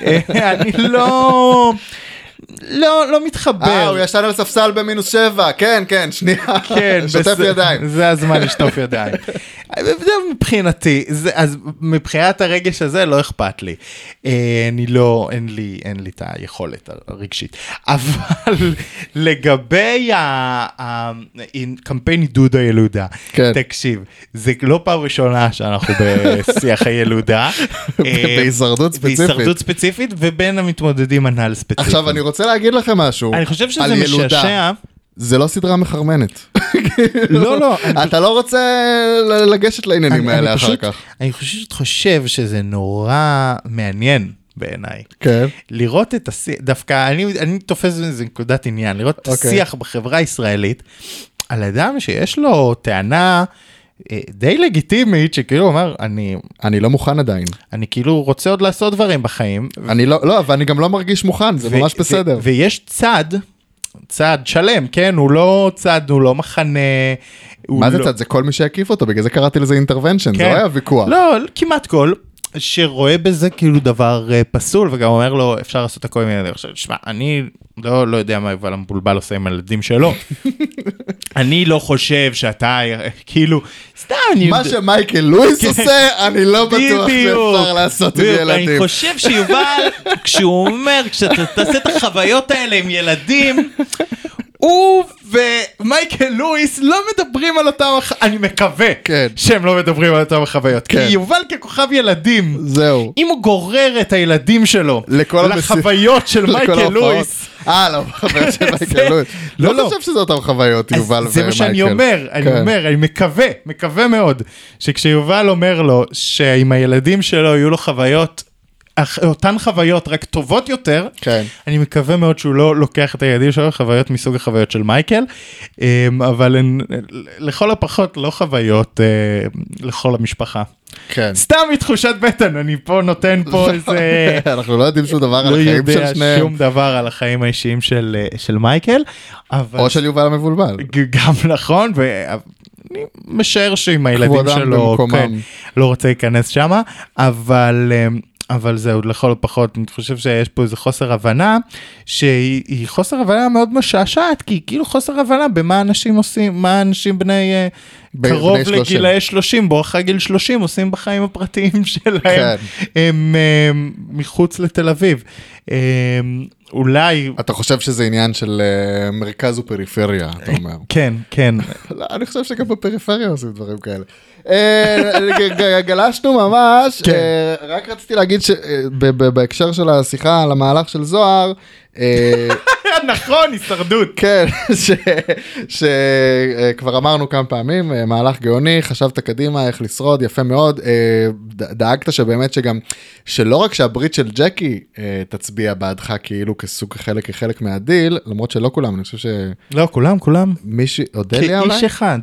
[SPEAKER 3] אה, אני לא, לא, לא מתחבר.
[SPEAKER 2] אה, הוא ישן על ספסל במינוס שבע, כן, כן, שנייה,
[SPEAKER 3] כן,
[SPEAKER 2] שוטף
[SPEAKER 3] בסדר.
[SPEAKER 2] ידיים.
[SPEAKER 3] זה הזמן לשטוף ידיים. זה מבחינתי, זה, אז מבחינת הרגש הזה לא אכפת לי. אה, אני לא, אין לי, אין לי את היכולת הרגשית. אבל לגבי ה- ה- קמפיין עידוד הילודה,
[SPEAKER 2] כן.
[SPEAKER 3] תקשיב, זה לא פעם ראשונה שאנחנו בשיח הילודה. אה,
[SPEAKER 2] בהישרדות ספציפית.
[SPEAKER 3] בהישרדות ספציפית ובין המתמודדים הנ"ל ספציפית.
[SPEAKER 2] עכשיו אני רוצה להגיד לכם משהו.
[SPEAKER 3] אני חושב
[SPEAKER 2] על
[SPEAKER 3] שזה
[SPEAKER 2] ילודה.
[SPEAKER 3] משעשע.
[SPEAKER 2] זה לא סדרה מחרמנת.
[SPEAKER 3] לא, לא,
[SPEAKER 2] אתה לא רוצה ל- לגשת לעניינים האלה אחר
[SPEAKER 3] פשוט,
[SPEAKER 2] כך.
[SPEAKER 3] אני פשוט חושב שזה נורא מעניין בעיניי.
[SPEAKER 2] כן.
[SPEAKER 3] לראות את השיח, דווקא אני, אני תופס איזה נקודת עניין, לראות את
[SPEAKER 2] אוקיי.
[SPEAKER 3] השיח בחברה הישראלית על אדם שיש לו טענה אה, די לגיטימית, שכאילו אומר, אני,
[SPEAKER 2] אני לא מוכן עדיין.
[SPEAKER 3] אני כאילו רוצה עוד לעשות דברים בחיים,
[SPEAKER 2] אני לא, לא, ואני גם לא מרגיש מוכן, זה
[SPEAKER 3] ו-
[SPEAKER 2] ממש
[SPEAKER 3] ו-
[SPEAKER 2] בסדר.
[SPEAKER 3] ויש צד, צד שלם, כן? הוא לא צד, הוא לא מחנה. הוא
[SPEAKER 2] מה זה
[SPEAKER 3] לא-
[SPEAKER 2] צד? זה כל מי שהקיף אותו, בגלל זה קראתי לזה אינטרוונשן, זה
[SPEAKER 3] כן.
[SPEAKER 2] לא היה ויכוח.
[SPEAKER 3] לא, כמעט כל. שרואה בזה כאילו דבר אה, פסול וגם אומר לו אפשר לעשות הכל עם ילדים. עכשיו, שמע, אני לא, לא יודע מה יובל המבולבל עושה עם הילדים שלו. אני לא חושב שאתה אה, כאילו, סתם, אני...
[SPEAKER 2] מה שמייקל לואיס
[SPEAKER 3] כן.
[SPEAKER 2] עושה, אני לא בטוח
[SPEAKER 3] בדיוק.
[SPEAKER 2] שאפשר לעשות עם
[SPEAKER 4] בדיוק, אני
[SPEAKER 2] ילדים.
[SPEAKER 4] חושב שיובל, כשהוא אומר, כשאתה תעשה את החוויות האלה עם ילדים,
[SPEAKER 3] הוא ומייקל לואיס לא מדברים על אותם, הח- אני מקווה
[SPEAKER 2] כן.
[SPEAKER 3] שהם לא מדברים על אותם החוויות,
[SPEAKER 2] כן.
[SPEAKER 3] כי יובל ככוכב ילדים,
[SPEAKER 2] זהו.
[SPEAKER 3] אם הוא גורר את הילדים שלו
[SPEAKER 2] לכל המס-
[SPEAKER 3] לחוויות של
[SPEAKER 2] לכל
[SPEAKER 3] מייקל
[SPEAKER 2] ההופעות.
[SPEAKER 3] לואיס,
[SPEAKER 2] אה, לא, חבר של מייקל לואיס.
[SPEAKER 3] לא,
[SPEAKER 2] לא
[SPEAKER 3] לא.
[SPEAKER 2] חושב שזה אותם חוויות,
[SPEAKER 3] אז
[SPEAKER 2] יובל ומייקל.
[SPEAKER 3] זה מה שאני אומר, אני
[SPEAKER 2] כן.
[SPEAKER 3] אומר, אני מקווה, מקווה מאוד, שכשיובל אומר לו שעם הילדים שלו יהיו לו חוויות, אך- אותן חוויות רק טובות יותר,
[SPEAKER 2] כן.
[SPEAKER 3] אני מקווה מאוד שהוא לא לוקח את הילדים שלו לחוויות מסוג החוויות של מייקל, אמ, אבל הן לכל הפחות לא חוויות אה, לכל המשפחה.
[SPEAKER 2] כן.
[SPEAKER 3] סתם מתחושת בטן, אני פה נותן פה איזה...
[SPEAKER 2] אנחנו לא יודעים שום דבר על
[SPEAKER 3] לא
[SPEAKER 2] החיים
[SPEAKER 3] יודע
[SPEAKER 2] של שניהם,
[SPEAKER 3] שום דבר על החיים האישיים של, אה, של מייקל, אבל
[SPEAKER 2] או של יובל המבולבל.
[SPEAKER 3] ג- גם נכון, ואני משער שעם הילדים
[SPEAKER 2] כבודם
[SPEAKER 3] שלו,
[SPEAKER 2] במקומם.
[SPEAKER 3] כן, לא רוצה להיכנס שמה, אבל... אמ, אבל זהו, לכל הפחות, אני חושב שיש פה איזה חוסר הבנה, שהיא היא חוסר הבנה מאוד משעשעת, כי היא כאילו חוסר הבנה במה אנשים עושים, מה אנשים בני, אה,
[SPEAKER 2] בני
[SPEAKER 3] קרוב
[SPEAKER 2] 30.
[SPEAKER 3] לגילאי 30, בואכה גיל 30, עושים בחיים הפרטיים שלהם,
[SPEAKER 2] כן.
[SPEAKER 3] הם, הם, מחוץ לתל אביב. הם, אולי,
[SPEAKER 2] אתה חושב שזה עניין של אה, מרכז ופריפריה, אתה אומר.
[SPEAKER 3] כן, כן,
[SPEAKER 2] לא, אני חושב שגם בפריפריה עושים דברים כאלה. אה, ג- ג- גלשנו ממש,
[SPEAKER 3] כן.
[SPEAKER 2] אה, רק רציתי להגיד אה, שבהקשר של השיחה על המהלך של זוהר, אה,
[SPEAKER 3] נכון, הישרדות.
[SPEAKER 2] כן, שכבר אמרנו כמה פעמים, אה, מהלך גאוני, חשבת קדימה איך לשרוד, יפה מאוד, אה, ד- דאגת שבאמת שגם, שלא רק שהברית של ג'קי אה, תצביע בעדך כאילו כסוג חלק כחלק מהדיל, למרות שלא כולם, אני חושב
[SPEAKER 3] לא, כולם, כולם.
[SPEAKER 2] שמישהי, אודליה אולי?
[SPEAKER 3] כאיש אחד.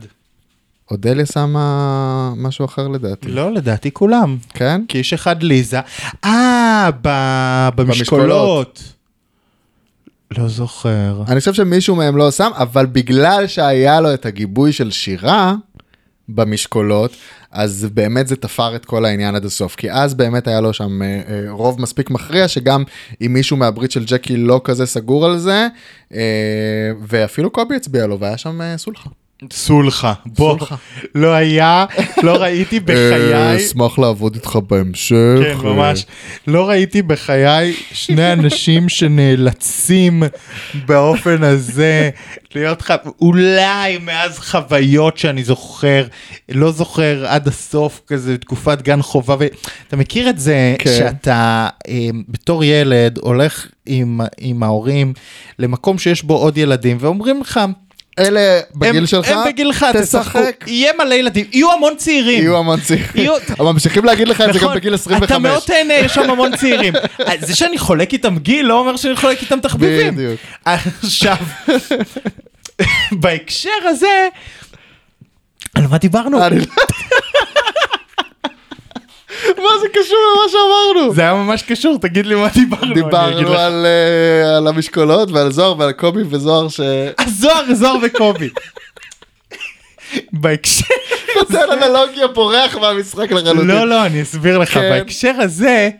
[SPEAKER 2] אודליה שמה משהו אחר לדעתי,
[SPEAKER 3] לא, לדעתי כולם.
[SPEAKER 2] כן?
[SPEAKER 3] כאיש אחד ליזה. אה, ב- במשקולות. לא זוכר.
[SPEAKER 2] אני חושב שמישהו מהם לא שם, אבל בגלל שהיה לו את הגיבוי של שירה במשקולות, אז באמת זה תפר את כל העניין עד הסוף. כי אז באמת היה לו שם אה, אה, רוב מספיק מכריע, שגם אם מישהו מהברית של ג'קי לא כזה סגור על זה, אה, ואפילו קובי הצביע לו, והיה שם אה, סולחה.
[SPEAKER 3] סולחה. בוא.
[SPEAKER 2] סולחה.
[SPEAKER 3] לא היה, לא ראיתי
[SPEAKER 2] אה,
[SPEAKER 3] בחיי.
[SPEAKER 2] אשמח לעבוד איתך בהמשך.
[SPEAKER 3] כן, ממש. לא ראיתי בחיי שני אנשים שנאלצים באופן הזה להיות חו... אולי מאז חוויות שאני זוכר, לא זוכר עד הסוף כזה, תקופת גן חובה. ו... אתה מכיר את זה
[SPEAKER 2] כן.
[SPEAKER 3] שאתה אה, בתור ילד הולך עם, עם ההורים למקום שיש בו עוד ילדים ואומרים לך,
[SPEAKER 2] אה, אלה בגיל
[SPEAKER 3] הם,
[SPEAKER 2] שלך,
[SPEAKER 3] הם בגילך, תשחקו,
[SPEAKER 2] תשחק.
[SPEAKER 4] יהיה מלא ילדים, יהיו המון צעירים.
[SPEAKER 2] יהיו המון צעירים.
[SPEAKER 4] יהיו-
[SPEAKER 2] אבל ממשיכים להגיד לך את זה גם
[SPEAKER 4] נכון,
[SPEAKER 2] בגיל 25.
[SPEAKER 4] אתה מאוד תהנה, יש שם המון צעירים.
[SPEAKER 3] אה,
[SPEAKER 4] אז זה שאני חולק איתם גיל לא אומר שאני חולק איתם תחביבים.
[SPEAKER 2] בדיוק.
[SPEAKER 4] עכשיו, בהקשר הזה, על מה דיברנו?
[SPEAKER 2] אני לא- מה זה קשור למה שאמרנו?
[SPEAKER 3] זה היה ממש קשור, תגיד לי מה דיברנו. אני אגיד
[SPEAKER 2] דיברנו
[SPEAKER 3] לך.
[SPEAKER 2] על, אה, על המשקולות ועל זוהר ועל קובי וזוהר ש...
[SPEAKER 3] אז זוהר, זוהר וקובי. בהקשר,
[SPEAKER 2] נותן אנלוגיה בורח מהמשחק לחלוטין.
[SPEAKER 3] לא, לא, אני אסביר לך,
[SPEAKER 2] כן.
[SPEAKER 3] בהקשר הזה,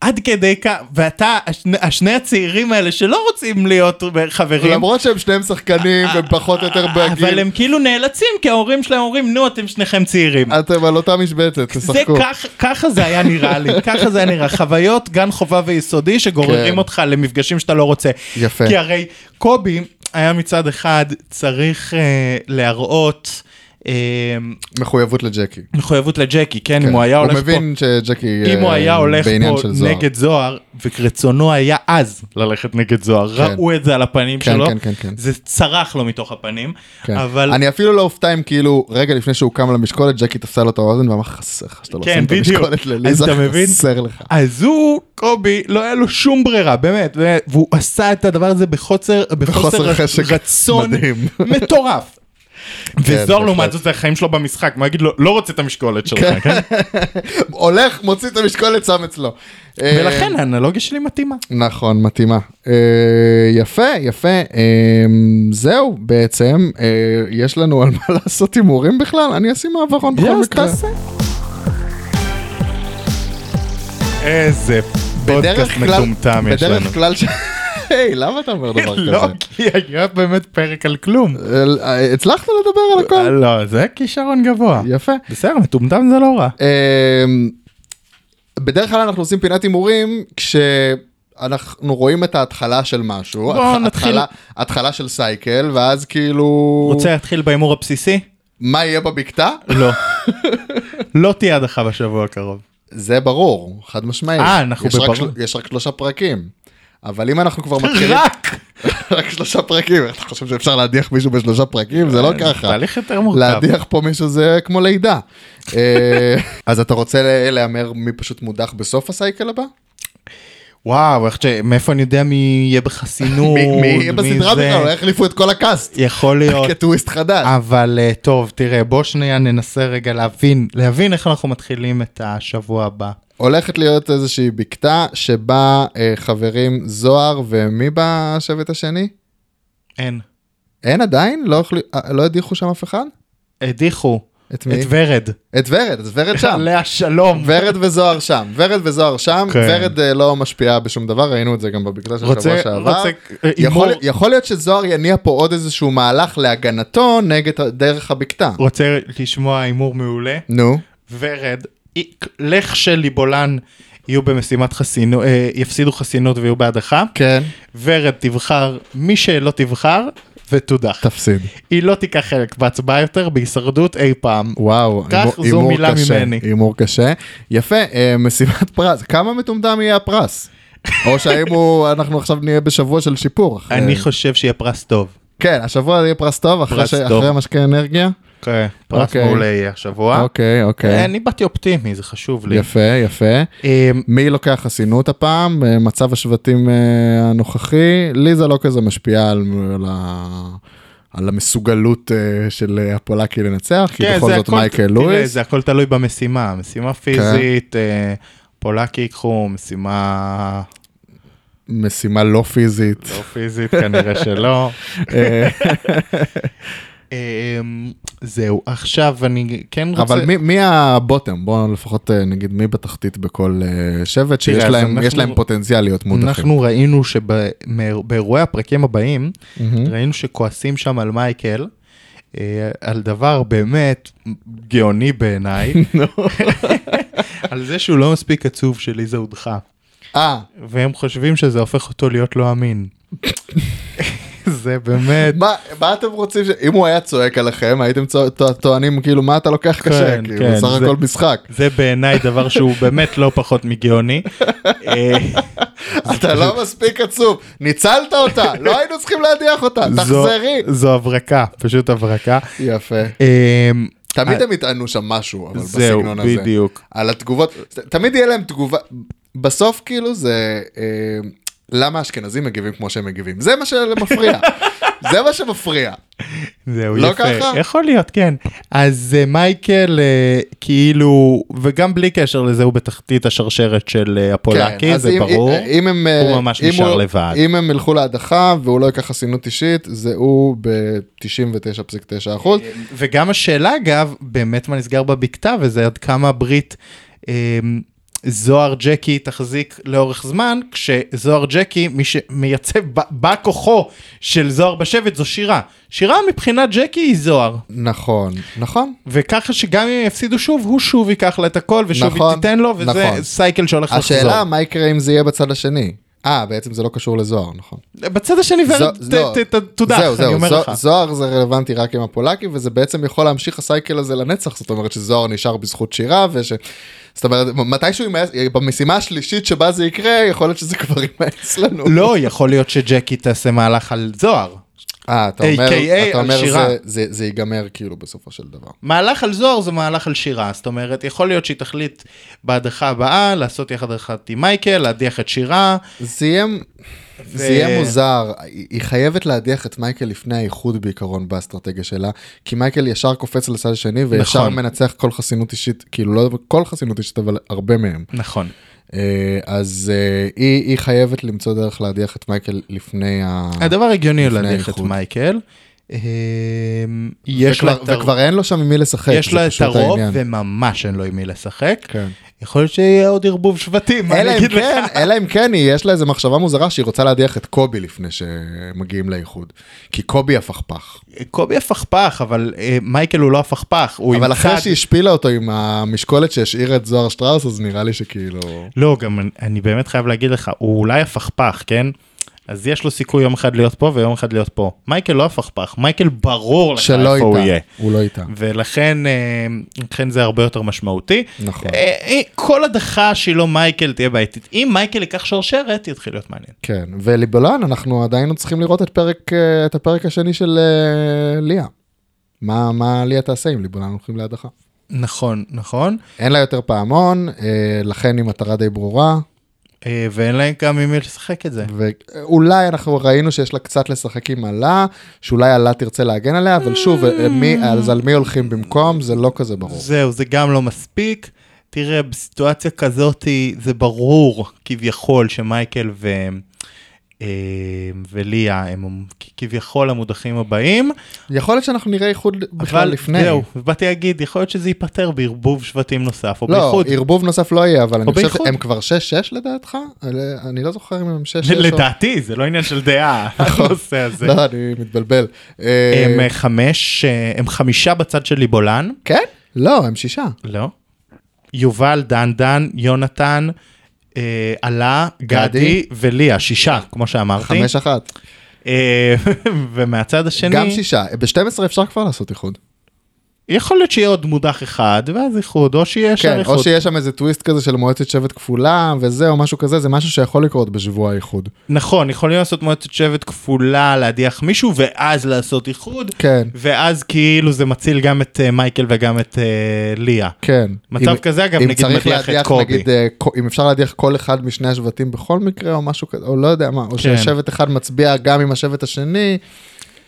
[SPEAKER 3] עד כדי כך, ואתה, השני- השני הצעירים האלה שלא רוצים להיות חברים,
[SPEAKER 2] למרות שהם שניהם שחקנים
[SPEAKER 3] אה,
[SPEAKER 2] והם פחות או יותר
[SPEAKER 4] אבל
[SPEAKER 2] בגיל,
[SPEAKER 4] הם כאילו נאלצים, כי ההורים שלהם אומרים, נו, אתם שניכם צעירים.
[SPEAKER 2] אתם על אותה משבצת,
[SPEAKER 3] זה
[SPEAKER 2] תשחקו.
[SPEAKER 3] כך- ככה זה היה נראה לי, ככה זה היה נראה, חוויות גן חובה ויסודי
[SPEAKER 2] כן.
[SPEAKER 3] שגוררים אותך למפגשים שאתה לא רוצה.
[SPEAKER 2] יפה.
[SPEAKER 3] כי הרי קובי היה מצד אחד צריך אה, להראות אה,
[SPEAKER 2] מחויבות לג'קי.
[SPEAKER 3] מחויבות לג'קי, כן,
[SPEAKER 2] כן.
[SPEAKER 3] אם הוא היה
[SPEAKER 2] הוא
[SPEAKER 3] הולך פה...
[SPEAKER 2] מבין שג'קי
[SPEAKER 3] אם הוא
[SPEAKER 2] אה,
[SPEAKER 3] היה הולך
[SPEAKER 2] בעניין
[SPEAKER 3] פה
[SPEAKER 2] של זוהר.
[SPEAKER 3] נגד זוהר, ורצונו היה אז ללכת נגד זוהר,
[SPEAKER 2] כן.
[SPEAKER 3] ראו את זה על הפנים
[SPEAKER 2] כן,
[SPEAKER 3] שלו,
[SPEAKER 2] כן, כן, כן.
[SPEAKER 3] זה צרח לו מתוך הפנים,
[SPEAKER 2] כן.
[SPEAKER 3] אבל...
[SPEAKER 2] אני אפילו לא אופתע אם כאילו רגע לפני שהוא קם למשקולת ג'קי תפסה לו את האוזן ואמר חסר לך שאתה לא
[SPEAKER 3] כן,
[SPEAKER 2] שם את
[SPEAKER 3] בדיוק.
[SPEAKER 2] המשקולת
[SPEAKER 3] אז
[SPEAKER 2] לליזה
[SPEAKER 3] אתה מבין?
[SPEAKER 2] חסר לך.
[SPEAKER 3] אז הוא, קובי, לא היה לו שום ברירה, באמת, ו- והוא עשה את הדבר הזה בחוצר, בחוסר
[SPEAKER 2] בחוסר חשק
[SPEAKER 3] רצון
[SPEAKER 2] מדהים. כן,
[SPEAKER 3] מטורף. וזוהר
[SPEAKER 2] בהחלט.
[SPEAKER 3] לעומת זאת זה החיים שלו במשחק, מה יגיד לו, לא רוצה את המשקולת שלך, כן?
[SPEAKER 2] הולך, מוציא את המשקולת, שם אצלו. אה,
[SPEAKER 3] ולכן האנלוגיה שלי מתאימה.
[SPEAKER 2] נכון, מתאימה. אה, יפה, יפה. אה, זהו, בעצם, אה, יש לנו על מה לעשות הימורים בכלל? אני אשים מעברון בכל מקרה.
[SPEAKER 3] איזה פודקאסט
[SPEAKER 2] בדרך כלל-
[SPEAKER 3] מטומטם יש לנו.
[SPEAKER 2] בדרך כלל ש... היי, למה אתה אומר דבר כזה?
[SPEAKER 3] לא, כי היה באמת פרק על כלום.
[SPEAKER 2] אה, הצלחנו לדבר על
[SPEAKER 3] אה,
[SPEAKER 2] הכל.
[SPEAKER 3] לא, זה כישרון גבוה.
[SPEAKER 2] יפה.
[SPEAKER 3] בסדר, מטומטם זה לא רע.
[SPEAKER 2] אמ, בדרך כלל אנחנו עושים פינת הימורים כשאנחנו רואים את ההתחלה של משהו. התח-
[SPEAKER 3] נתחיל.
[SPEAKER 2] התחלה- התחלה של סייקל, ואז כאילו...
[SPEAKER 3] רוצה להתחיל בהימור הבסיסי?
[SPEAKER 2] מה יהיה בבקתה?
[SPEAKER 3] לא. לא תהיה הדחה בשבוע הקרוב.
[SPEAKER 2] זה ברור, חד משמעית.
[SPEAKER 3] אה, אנחנו
[SPEAKER 2] יש רק
[SPEAKER 3] בברור.
[SPEAKER 2] של- יש רק שלושה פרקים. אבל אם אנחנו כבר מתחילים...
[SPEAKER 3] רק!
[SPEAKER 2] רק שלושה פרקים. אתה חושב שאפשר להדיח מישהו בשלושה פרקים? זה לא ככה.
[SPEAKER 3] תהליך יותר אה, מורכב.
[SPEAKER 2] להדיח פה מישהו זה כמו לידה. אה, אז אתה רוצה ל- להמר מי פשוט מודח בסוף הסייקל הבא?
[SPEAKER 3] וואו, איך ש... מאיפה אני יודע מי יהיה בחסינות?
[SPEAKER 2] מי מי יהיה בסדרה
[SPEAKER 3] זה?
[SPEAKER 2] בכלל? אולי החליפו את כל הקאסט.
[SPEAKER 3] יכול להיות.
[SPEAKER 2] כטוויסט חדש.
[SPEAKER 3] אבל אה, טוב, תראה, בוא שנייה ננסה רגע להבין, להבין איך אנחנו מתחילים את השבוע הבא.
[SPEAKER 2] הולכת להיות איזושהי בקתה שבה אה, חברים זוהר ומי בשבט השני?
[SPEAKER 3] אין.
[SPEAKER 2] אין עדיין? לא החלי- אה, לא הדיחו שם אף אחד?
[SPEAKER 3] הדיחו
[SPEAKER 2] את מי?
[SPEAKER 3] את ורד.
[SPEAKER 2] את ורד, אז ורד שם.
[SPEAKER 3] עליה שלום.
[SPEAKER 2] ורד וזוהר שם, ורד וזוהר שם,
[SPEAKER 3] כן.
[SPEAKER 2] ורד אה, לא משפיעה בשום דבר, ראינו את זה גם בבקתה של
[SPEAKER 3] רוצה,
[SPEAKER 2] שבוע שעבר.
[SPEAKER 3] רוצה, אה,
[SPEAKER 2] יכול,
[SPEAKER 3] הימור-
[SPEAKER 2] יכול להיות שזוהר יניע פה עוד איזשהו מהלך להגנתו נגד ה- דרך הבקתה.
[SPEAKER 3] רוצה לשמוע הימור מעולה?
[SPEAKER 2] נו,
[SPEAKER 3] ורד, אי- לכשליבולן יהיו במשימת חסינות, אה, יפסידו חסינות ויהיו בהדחה,
[SPEAKER 2] כן,
[SPEAKER 3] ורד תבחר מי שלא תבחר ותודח.
[SPEAKER 2] תפסיד.
[SPEAKER 3] היא לא תיקח חלק בהצבעה יותר בהישרדות אי פעם.
[SPEAKER 2] וואו,
[SPEAKER 3] כך,
[SPEAKER 2] הימור-
[SPEAKER 3] זו
[SPEAKER 2] הימור
[SPEAKER 3] מילה
[SPEAKER 2] קשה,
[SPEAKER 3] ממני.
[SPEAKER 2] הימור קשה. יפה, אה, משימת פרס, כמה מטומטם יהיה הפרס? או שהאם הוא, אנחנו עכשיו נהיה בשבוע של שיפור. אחרי-
[SPEAKER 3] אני חושב שיהיה פרס טוב.
[SPEAKER 2] כן, השבוע יהיה פרס טוב, אחרי
[SPEAKER 3] פרס
[SPEAKER 2] ש-
[SPEAKER 3] טוב.
[SPEAKER 2] אחרי משקה אנרגיה.
[SPEAKER 3] כן, פרס
[SPEAKER 2] אוקיי.
[SPEAKER 3] מעולה יהיה השבוע.
[SPEAKER 2] אוקיי, אוקיי.
[SPEAKER 3] אני באתי אופטימי, זה חשוב לי.
[SPEAKER 2] יפה, יפה.
[SPEAKER 3] אמ,
[SPEAKER 2] מי לוקח חסינות הפעם? אה, מצב השבטים אה, הנוכחי? לי זה לא כזה משפיע על, על, ה, על המסוגלות אה, של אה, הפולקי לנצח, כי
[SPEAKER 3] כן,
[SPEAKER 2] בכל
[SPEAKER 3] זה
[SPEAKER 2] זאת
[SPEAKER 3] הכל-
[SPEAKER 2] מייקל
[SPEAKER 3] תראה,
[SPEAKER 2] לואיס. אוקיי.
[SPEAKER 3] זה הכל תלוי במשימה, משימה פיזית, אה, פולקי ייקחו, משימה
[SPEAKER 2] משימה לא פיזית.
[SPEAKER 3] לא פיזית כנראה שלא.
[SPEAKER 2] אה,
[SPEAKER 3] אמ, זהו, עכשיו אני כן רוצה...
[SPEAKER 2] אבל מי, מי הבוטם? בואו לפחות אה, נגיד מי בתחתית בכל אה, שבט, שיש
[SPEAKER 3] אז
[SPEAKER 2] להם,
[SPEAKER 3] אנחנו-
[SPEAKER 2] יש להם פוטנציאל להיות מודחים.
[SPEAKER 3] אנחנו ראינו שבאירועי הפרקים הבאים,
[SPEAKER 2] מהמם.
[SPEAKER 3] ראינו שכועסים שם על מייקל, אה, על דבר באמת גאוני בעיניי, על זה שהוא לא מספיק עצוב שליזה הודחה,
[SPEAKER 2] אה,
[SPEAKER 3] והם חושבים שזה הופך אותו להיות לא אמין. זה באמת...
[SPEAKER 2] מה, מה אתם רוצים? ש... אם הוא היה צועק עליכם, הייתם צוע... טוע- טוענים כאילו מה אתה לוקח קשה,
[SPEAKER 3] כן,
[SPEAKER 2] כאילו
[SPEAKER 3] כן,
[SPEAKER 2] בסך
[SPEAKER 3] זה-
[SPEAKER 2] הכל משחק.
[SPEAKER 3] זה בעיניי דבר שהוא באמת לא פחות מגאוני. אה,
[SPEAKER 2] אתה לא מספיק עצוב, ניצלת אותה, לא היינו צריכים להדיח אותה,
[SPEAKER 3] זו-
[SPEAKER 2] תחזרי.
[SPEAKER 3] זו הברקה, פשוט הברקה.
[SPEAKER 2] יפה.
[SPEAKER 3] אמ,
[SPEAKER 2] תמיד הם יטענו שם משהו, אבל
[SPEAKER 3] זהו,
[SPEAKER 2] בסגנון הזה.
[SPEAKER 3] בדיוק.
[SPEAKER 2] על התגובות, תמיד יהיה להם תגובה, בסוף כאילו זה, אה, למה האשכנזים מגיבים כמו שהם מגיבים? זה מה שמפריע. זה מה שמפריע.
[SPEAKER 3] זהו,
[SPEAKER 2] לא
[SPEAKER 3] יפה.
[SPEAKER 2] ככה?
[SPEAKER 3] יכול להיות, כן. אז אה, מייקל, אה, כאילו, וגם בלי קשר לזה, הוא בתחתית השרשרת של אה, הפולקי,
[SPEAKER 2] כן, אז
[SPEAKER 3] זה
[SPEAKER 2] אם-
[SPEAKER 3] ברור.
[SPEAKER 2] אם הם, אה,
[SPEAKER 3] הוא ממש
[SPEAKER 2] אם
[SPEAKER 3] נשאר
[SPEAKER 2] הוא-
[SPEAKER 3] לבד.
[SPEAKER 2] אם הם ילכו להדחה והוא לא ייקח חסינות אישית, זה הוא ב-99.9 אחוז.
[SPEAKER 3] וגם השאלה, אגב, באמת מה נסגר בבקתה, וזה עד כמה ברית אה, זוהר ג'קי תחזיק לאורך זמן, כשזוהר ג'קי, מי שמייצב ב- בא כוחו של זוהר בשבט, זו שירה. שירה מבחינת ג'קי היא זוהר.
[SPEAKER 2] נכון, נכון.
[SPEAKER 3] וככה שגם אם הם יפסידו שוב, הוא שוב ייקח לה את הכל, ושוב
[SPEAKER 2] נכון,
[SPEAKER 3] היא תיתן לו, וזה
[SPEAKER 2] נכון.
[SPEAKER 3] סייקל שהולך לחזור.
[SPEAKER 2] השאלה מה יקרה אם זה יהיה בצד השני. אה, בעצם זה לא קשור לזוהר, נכון.
[SPEAKER 3] בצד השני ורד
[SPEAKER 2] זו-
[SPEAKER 3] ת-
[SPEAKER 2] לא.
[SPEAKER 3] ת- ת- תודח,
[SPEAKER 2] זהו,
[SPEAKER 3] אני
[SPEAKER 2] זהו,
[SPEAKER 3] אומר
[SPEAKER 2] זו-
[SPEAKER 3] לך.
[SPEAKER 2] זוהר זה רלוונטי רק עם הפולקי, וזה בעצם יכול להמשיך הסייקל הזה לנצח, זאת אומרת שזוהר נשאר בזכות שירה, וש... זאת אומרת, מתישהו ימאס- במשימה השלישית שבה זה יקרה, יכול להיות שזה כבר יימאס לנו.
[SPEAKER 3] לא, יכול להיות שג'קי תעשה מהלך על זוהר.
[SPEAKER 2] אה, אתה אומר,
[SPEAKER 3] AKA
[SPEAKER 2] אתה
[SPEAKER 3] על
[SPEAKER 2] אומר
[SPEAKER 3] שירה.
[SPEAKER 2] זה, זה, זה ייגמר כאילו בסופו של דבר.
[SPEAKER 3] מהלך על זוהר זה מהלך על שירה, זאת אומרת, יכול להיות שהיא תחליט בהדחה הבאה לעשות יחד אחת עם מייקל, להדיח את שירה.
[SPEAKER 2] זה יהיה,
[SPEAKER 3] ו-
[SPEAKER 2] זה יהיה מוזר, היא היא חייבת להדיח את מייקל לפני האיחוד בעיקרון באסטרטגיה שלה, כי מייקל ישר קופץ לצד השני וישר
[SPEAKER 3] נכון.
[SPEAKER 2] מנצח כל חסינות אישית, כאילו לא כל חסינות אישית אבל הרבה מהם.
[SPEAKER 3] נכון.
[SPEAKER 2] אה, אז אה, היא, היא חייבת למצוא דרך להדיח את מייקל לפני ה...
[SPEAKER 3] אה, הדבר הגיוני הוא
[SPEAKER 2] לפני
[SPEAKER 3] להדיח את
[SPEAKER 2] האיחוד.
[SPEAKER 3] מייקל. אמ, יש לה
[SPEAKER 2] וכבר,
[SPEAKER 3] את הר-
[SPEAKER 2] וכבר אין לו שם עם מי לשחק,
[SPEAKER 3] יש
[SPEAKER 2] זה
[SPEAKER 3] לה את
[SPEAKER 2] פשוט
[SPEAKER 3] הרוב
[SPEAKER 2] העניין.
[SPEAKER 3] וממש אין לו עם מי לשחק.
[SPEAKER 2] כן.
[SPEAKER 3] יכול להיות שיהיה עוד ערבוב שבטים, מה
[SPEAKER 2] אלא
[SPEAKER 3] אני
[SPEAKER 2] אם
[SPEAKER 3] אגיד לך?
[SPEAKER 2] כן, אלא אם כן, היא- יש לה איזה מחשבה מוזרה שהיא רוצה להדיח את קובי לפני שמגיעים לאיחוד. כי קובי הפכפך.
[SPEAKER 3] קובי הפכפך, אבל אה, מייקל הוא לא הפכפך, הוא
[SPEAKER 2] אבל
[SPEAKER 3] עם
[SPEAKER 2] אחרי
[SPEAKER 3] צד.
[SPEAKER 2] שהיא השפילה אותו עם המשקולת שהשאיר את זוהר שטראוס, אז נראה לי שכאילו...
[SPEAKER 3] לא, גם אני- אני באמת חייב להגיד לך, הוא אולי הפכפך, כן? אז יש לו סיכוי יום אחד להיות פה ויום אחד להיות פה. מייקל לא הפכפך, מייקל ברור לך
[SPEAKER 2] שלא
[SPEAKER 3] איפה הוא יהיה.
[SPEAKER 2] איתה, הוא לא איתה.
[SPEAKER 3] ולכן אה, לכן זה הרבה יותר משמעותי.
[SPEAKER 2] נכון.
[SPEAKER 3] אה, אה, כל הדחה שהיא לא מייקל תהיה בעייתית. אם מייקל ייקח שרשרת, יתחיל להיות מעניין.
[SPEAKER 2] כן, וליבלן, אנחנו עדיין עוד צריכים לראות את, פרק, אה, את הפרק השני של אה, ליה. מה, מה ליה תעשה אם ליבלן הולכים להדחה?
[SPEAKER 3] נכון, נכון.
[SPEAKER 2] אין לה יותר פעמון, אה, לכן היא מטרה די ברורה,
[SPEAKER 3] אה, ואין להם גם עם מי לשחק את זה.
[SPEAKER 2] ואולי אנחנו ראינו שיש לה קצת לשחק עם עלה, שאולי עלה תרצה להגן עליה, אבל שוב, אה, מי, אז על מי הולכים במקום, זה לא כזה ברור.
[SPEAKER 3] זהו, זה גם לא מספיק. תראה, בסיטואציה כזאת זה ברור כביכול שמייקל ו... אה, וליה הם כ- כביכול המודחים הבאים.
[SPEAKER 2] יכול להיות שאנחנו נראה איחוד בכלל
[SPEAKER 3] אבל
[SPEAKER 2] לפני.
[SPEAKER 3] זהו, באתי להגיד, יכול להיות שזה ייפתר בערבוב שבטים נוסף, או
[SPEAKER 2] לא,
[SPEAKER 3] באיחוד.
[SPEAKER 2] ערבוב נוסף לא יהיה, אבל אני חושב
[SPEAKER 3] באיחוד.
[SPEAKER 2] שהם כבר 6-6 לדעתך? אלה- אני לא זוכר אם הם 6-6 או...
[SPEAKER 3] לדעתי, זה לא עניין של דעה, הנושא הזה.
[SPEAKER 2] לא, אני מתבלבל. אה,
[SPEAKER 3] הם אה, חמש, אה, הם חמישה בצד של ליבולן.
[SPEAKER 2] כן? לא, הם שישה.
[SPEAKER 3] לא. יובל, דן דן, יונתן, אה, עלה,
[SPEAKER 2] גדי.
[SPEAKER 3] גדי וליה, שישה, כמו שאמרתי.
[SPEAKER 2] חמש אחת.
[SPEAKER 3] אה, ומהצד השני,
[SPEAKER 2] גם שישה. ב-12 אפשר כבר לעשות איחוד.
[SPEAKER 3] יכול להיות שיהיה עוד מודח אחד, ואז איחוד, או שיהיה ישר
[SPEAKER 2] כן, או
[SPEAKER 3] איחוד.
[SPEAKER 2] שיש שם איזה טוויסט כזה של מועצת שבט כפולה וזה, או משהו כזה, זה משהו שיכול לקרות בשבוע האיחוד.
[SPEAKER 3] נכון, יכולים לעשות מועצת שבט כפולה, להדיח מישהו, ואז לעשות איחוד,
[SPEAKER 2] כן,
[SPEAKER 3] ואז כאילו זה מציל גם את אה, מייקל וגם את אה, ליה.
[SPEAKER 2] כן.
[SPEAKER 3] מצב
[SPEAKER 2] אם-
[SPEAKER 3] כזה, אגב,
[SPEAKER 2] אם
[SPEAKER 3] נגיד
[SPEAKER 2] צריך
[SPEAKER 3] מדיח את
[SPEAKER 2] להדיח,
[SPEAKER 3] קובי.
[SPEAKER 2] נגיד, אה, ק- אם אפשר להדיח כל אחד משני השבטים בכל מקרה, או משהו כזה, או לא יודע מה, או
[SPEAKER 3] כן.
[SPEAKER 2] ששבט אחד מצביע גם עם השבט השני.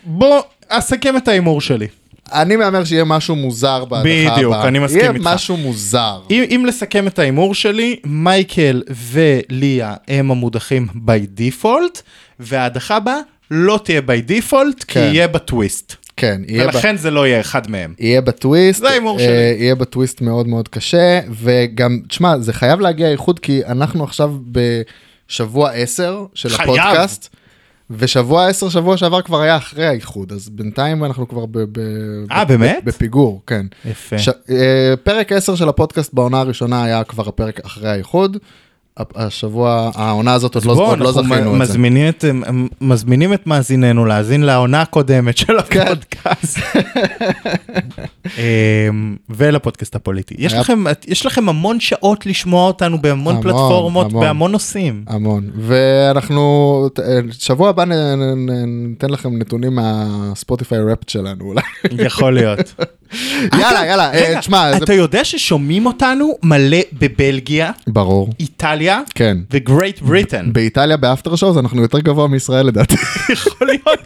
[SPEAKER 3] בוא, אסכם את ההימור שלי.
[SPEAKER 2] אני מהמר שיהיה משהו מוזר בהדחה הבאה.
[SPEAKER 3] בדיוק, אני מסכים איתך.
[SPEAKER 2] יהיה משהו מוזר.
[SPEAKER 3] אם, אם לסכם את ההימור שלי, מייקל וליה הם המודחים by default, וההדחה הבאה לא תהיה by default, כי
[SPEAKER 2] כן.
[SPEAKER 3] יהיה בטוויסט.
[SPEAKER 2] כן, יהיה ב-
[SPEAKER 3] ולכן זה לא יהיה אחד מהם.
[SPEAKER 2] יהיה בטוויסט,
[SPEAKER 3] זה ההימור
[SPEAKER 2] אה,
[SPEAKER 3] שלי.
[SPEAKER 2] יהיה בטוויסט מאוד מאוד קשה, וגם, תשמע, זה חייב להגיע איחוד, כי אנחנו עכשיו בשבוע 10 של
[SPEAKER 3] חייב.
[SPEAKER 2] הפודקאסט, ושבוע 10 שבוע שעבר כבר היה אחרי האיחוד, אז בינתיים אנחנו כבר ב... ב-
[SPEAKER 3] אה,
[SPEAKER 2] ב-
[SPEAKER 3] באמת?
[SPEAKER 2] בפיגור, כן.
[SPEAKER 3] יפה.
[SPEAKER 2] ש... אה, פרק 10 של הפודקאסט בעונה הראשונה היה כבר הפרק אחרי האיחוד. הפ- השבוע, העונה הזאת עוד לא,
[SPEAKER 3] בואו,
[SPEAKER 2] עוד לא
[SPEAKER 3] אנחנו
[SPEAKER 2] זכינו
[SPEAKER 3] מ-
[SPEAKER 2] את זה.
[SPEAKER 3] מזמינים את, מ- מזמינים את מאזיננו להאזין לעונה הקודמת של
[SPEAKER 2] כן.
[SPEAKER 3] הפודקאסט. אמ, ולפודקאסט הפוליטי. יש
[SPEAKER 2] היה-
[SPEAKER 3] לכם- יש לכם המון שעות לשמוע אותנו בהמון
[SPEAKER 2] המון,
[SPEAKER 3] פלטפורמות,
[SPEAKER 2] המון.
[SPEAKER 3] בהמון נושאים.
[SPEAKER 2] המון ואנחנו ת- אה, שבוע הבא נ- נ- נ- ניתן לכם נתונים מהספוטיפיי ראפט שלנו אולי.
[SPEAKER 3] יכול להיות.
[SPEAKER 2] יאללה יאללה אה,
[SPEAKER 3] רגע,
[SPEAKER 2] תשמע זה-
[SPEAKER 3] אתה יודע ששומעים אותנו מלא בבלגיה,
[SPEAKER 2] ברור
[SPEAKER 3] איטליה
[SPEAKER 2] כן
[SPEAKER 3] וגרייט בריטן.
[SPEAKER 2] באיטליה באפטר שואו אנחנו יותר גבוה מישראל לדעתי.
[SPEAKER 3] יכול להיות.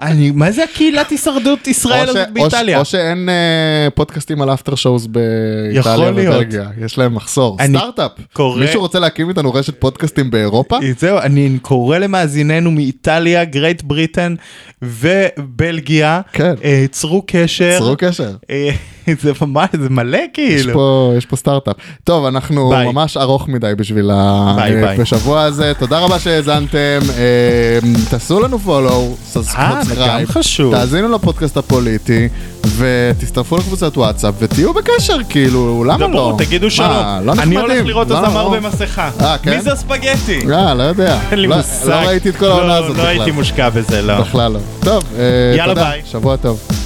[SPEAKER 3] אני, מה זה הקהילת הישרדות ישראל
[SPEAKER 2] או ש-
[SPEAKER 3] הזאת
[SPEAKER 2] או ש-
[SPEAKER 3] באיטליה?
[SPEAKER 2] או שאין אה, פודקאסטים על אפטר שואוס באיטליה
[SPEAKER 3] יכול להיות.
[SPEAKER 2] ובלגיה יש להם מחסור
[SPEAKER 3] אני
[SPEAKER 2] סטארט-אפ
[SPEAKER 3] קורא-
[SPEAKER 2] מישהו רוצה להקים איתנו רשת פודקאסטים באירופה
[SPEAKER 3] זהו, אני קורא למאזיננו מאיטליה, גרייט בריטן ובלגיה,
[SPEAKER 2] כן.
[SPEAKER 3] אה, צרו קשר.
[SPEAKER 2] צרו קשר.
[SPEAKER 3] אה, זה ממש, זה מלא
[SPEAKER 2] יש
[SPEAKER 3] כאילו.
[SPEAKER 2] פה, יש פה סטארט-אפ. טוב, אנחנו
[SPEAKER 3] ביי.
[SPEAKER 2] ממש ארוך מדי בשביל ה-
[SPEAKER 3] ביי,
[SPEAKER 2] אה,
[SPEAKER 3] ביי.
[SPEAKER 2] בשבוע הזה. תודה רבה שהאזנתם, אה, תעשו לנו פולו,
[SPEAKER 3] אה, זה גם חשוב.
[SPEAKER 2] תאזינו לפודקאסט הפוליטי, ותצטרפו לקבוצת וואטסאפ, ותהיו בקשר, כאילו, למה
[SPEAKER 3] דברו,
[SPEAKER 2] לא?
[SPEAKER 3] תגידו
[SPEAKER 2] מה,
[SPEAKER 3] שלום.
[SPEAKER 2] לא
[SPEAKER 3] אני
[SPEAKER 2] נחמדים?
[SPEAKER 3] הולך לראות
[SPEAKER 2] לא,
[SPEAKER 3] הזמר
[SPEAKER 2] לא.
[SPEAKER 3] במסכה.
[SPEAKER 2] אה, כן?
[SPEAKER 3] מי זה הספגטי?
[SPEAKER 2] אה, לא יודע.
[SPEAKER 3] אין לי
[SPEAKER 2] לא-
[SPEAKER 3] מושג.
[SPEAKER 2] לא ראיתי את כל
[SPEAKER 3] לא,
[SPEAKER 2] העונה הזאת
[SPEAKER 3] לא הייתי
[SPEAKER 2] בכלל.
[SPEAKER 3] מושקע בזה, לא.
[SPEAKER 2] בכלל לא. טוב, אה,
[SPEAKER 3] יאללה,
[SPEAKER 2] תודה.
[SPEAKER 3] ביי.
[SPEAKER 2] שבוע טוב.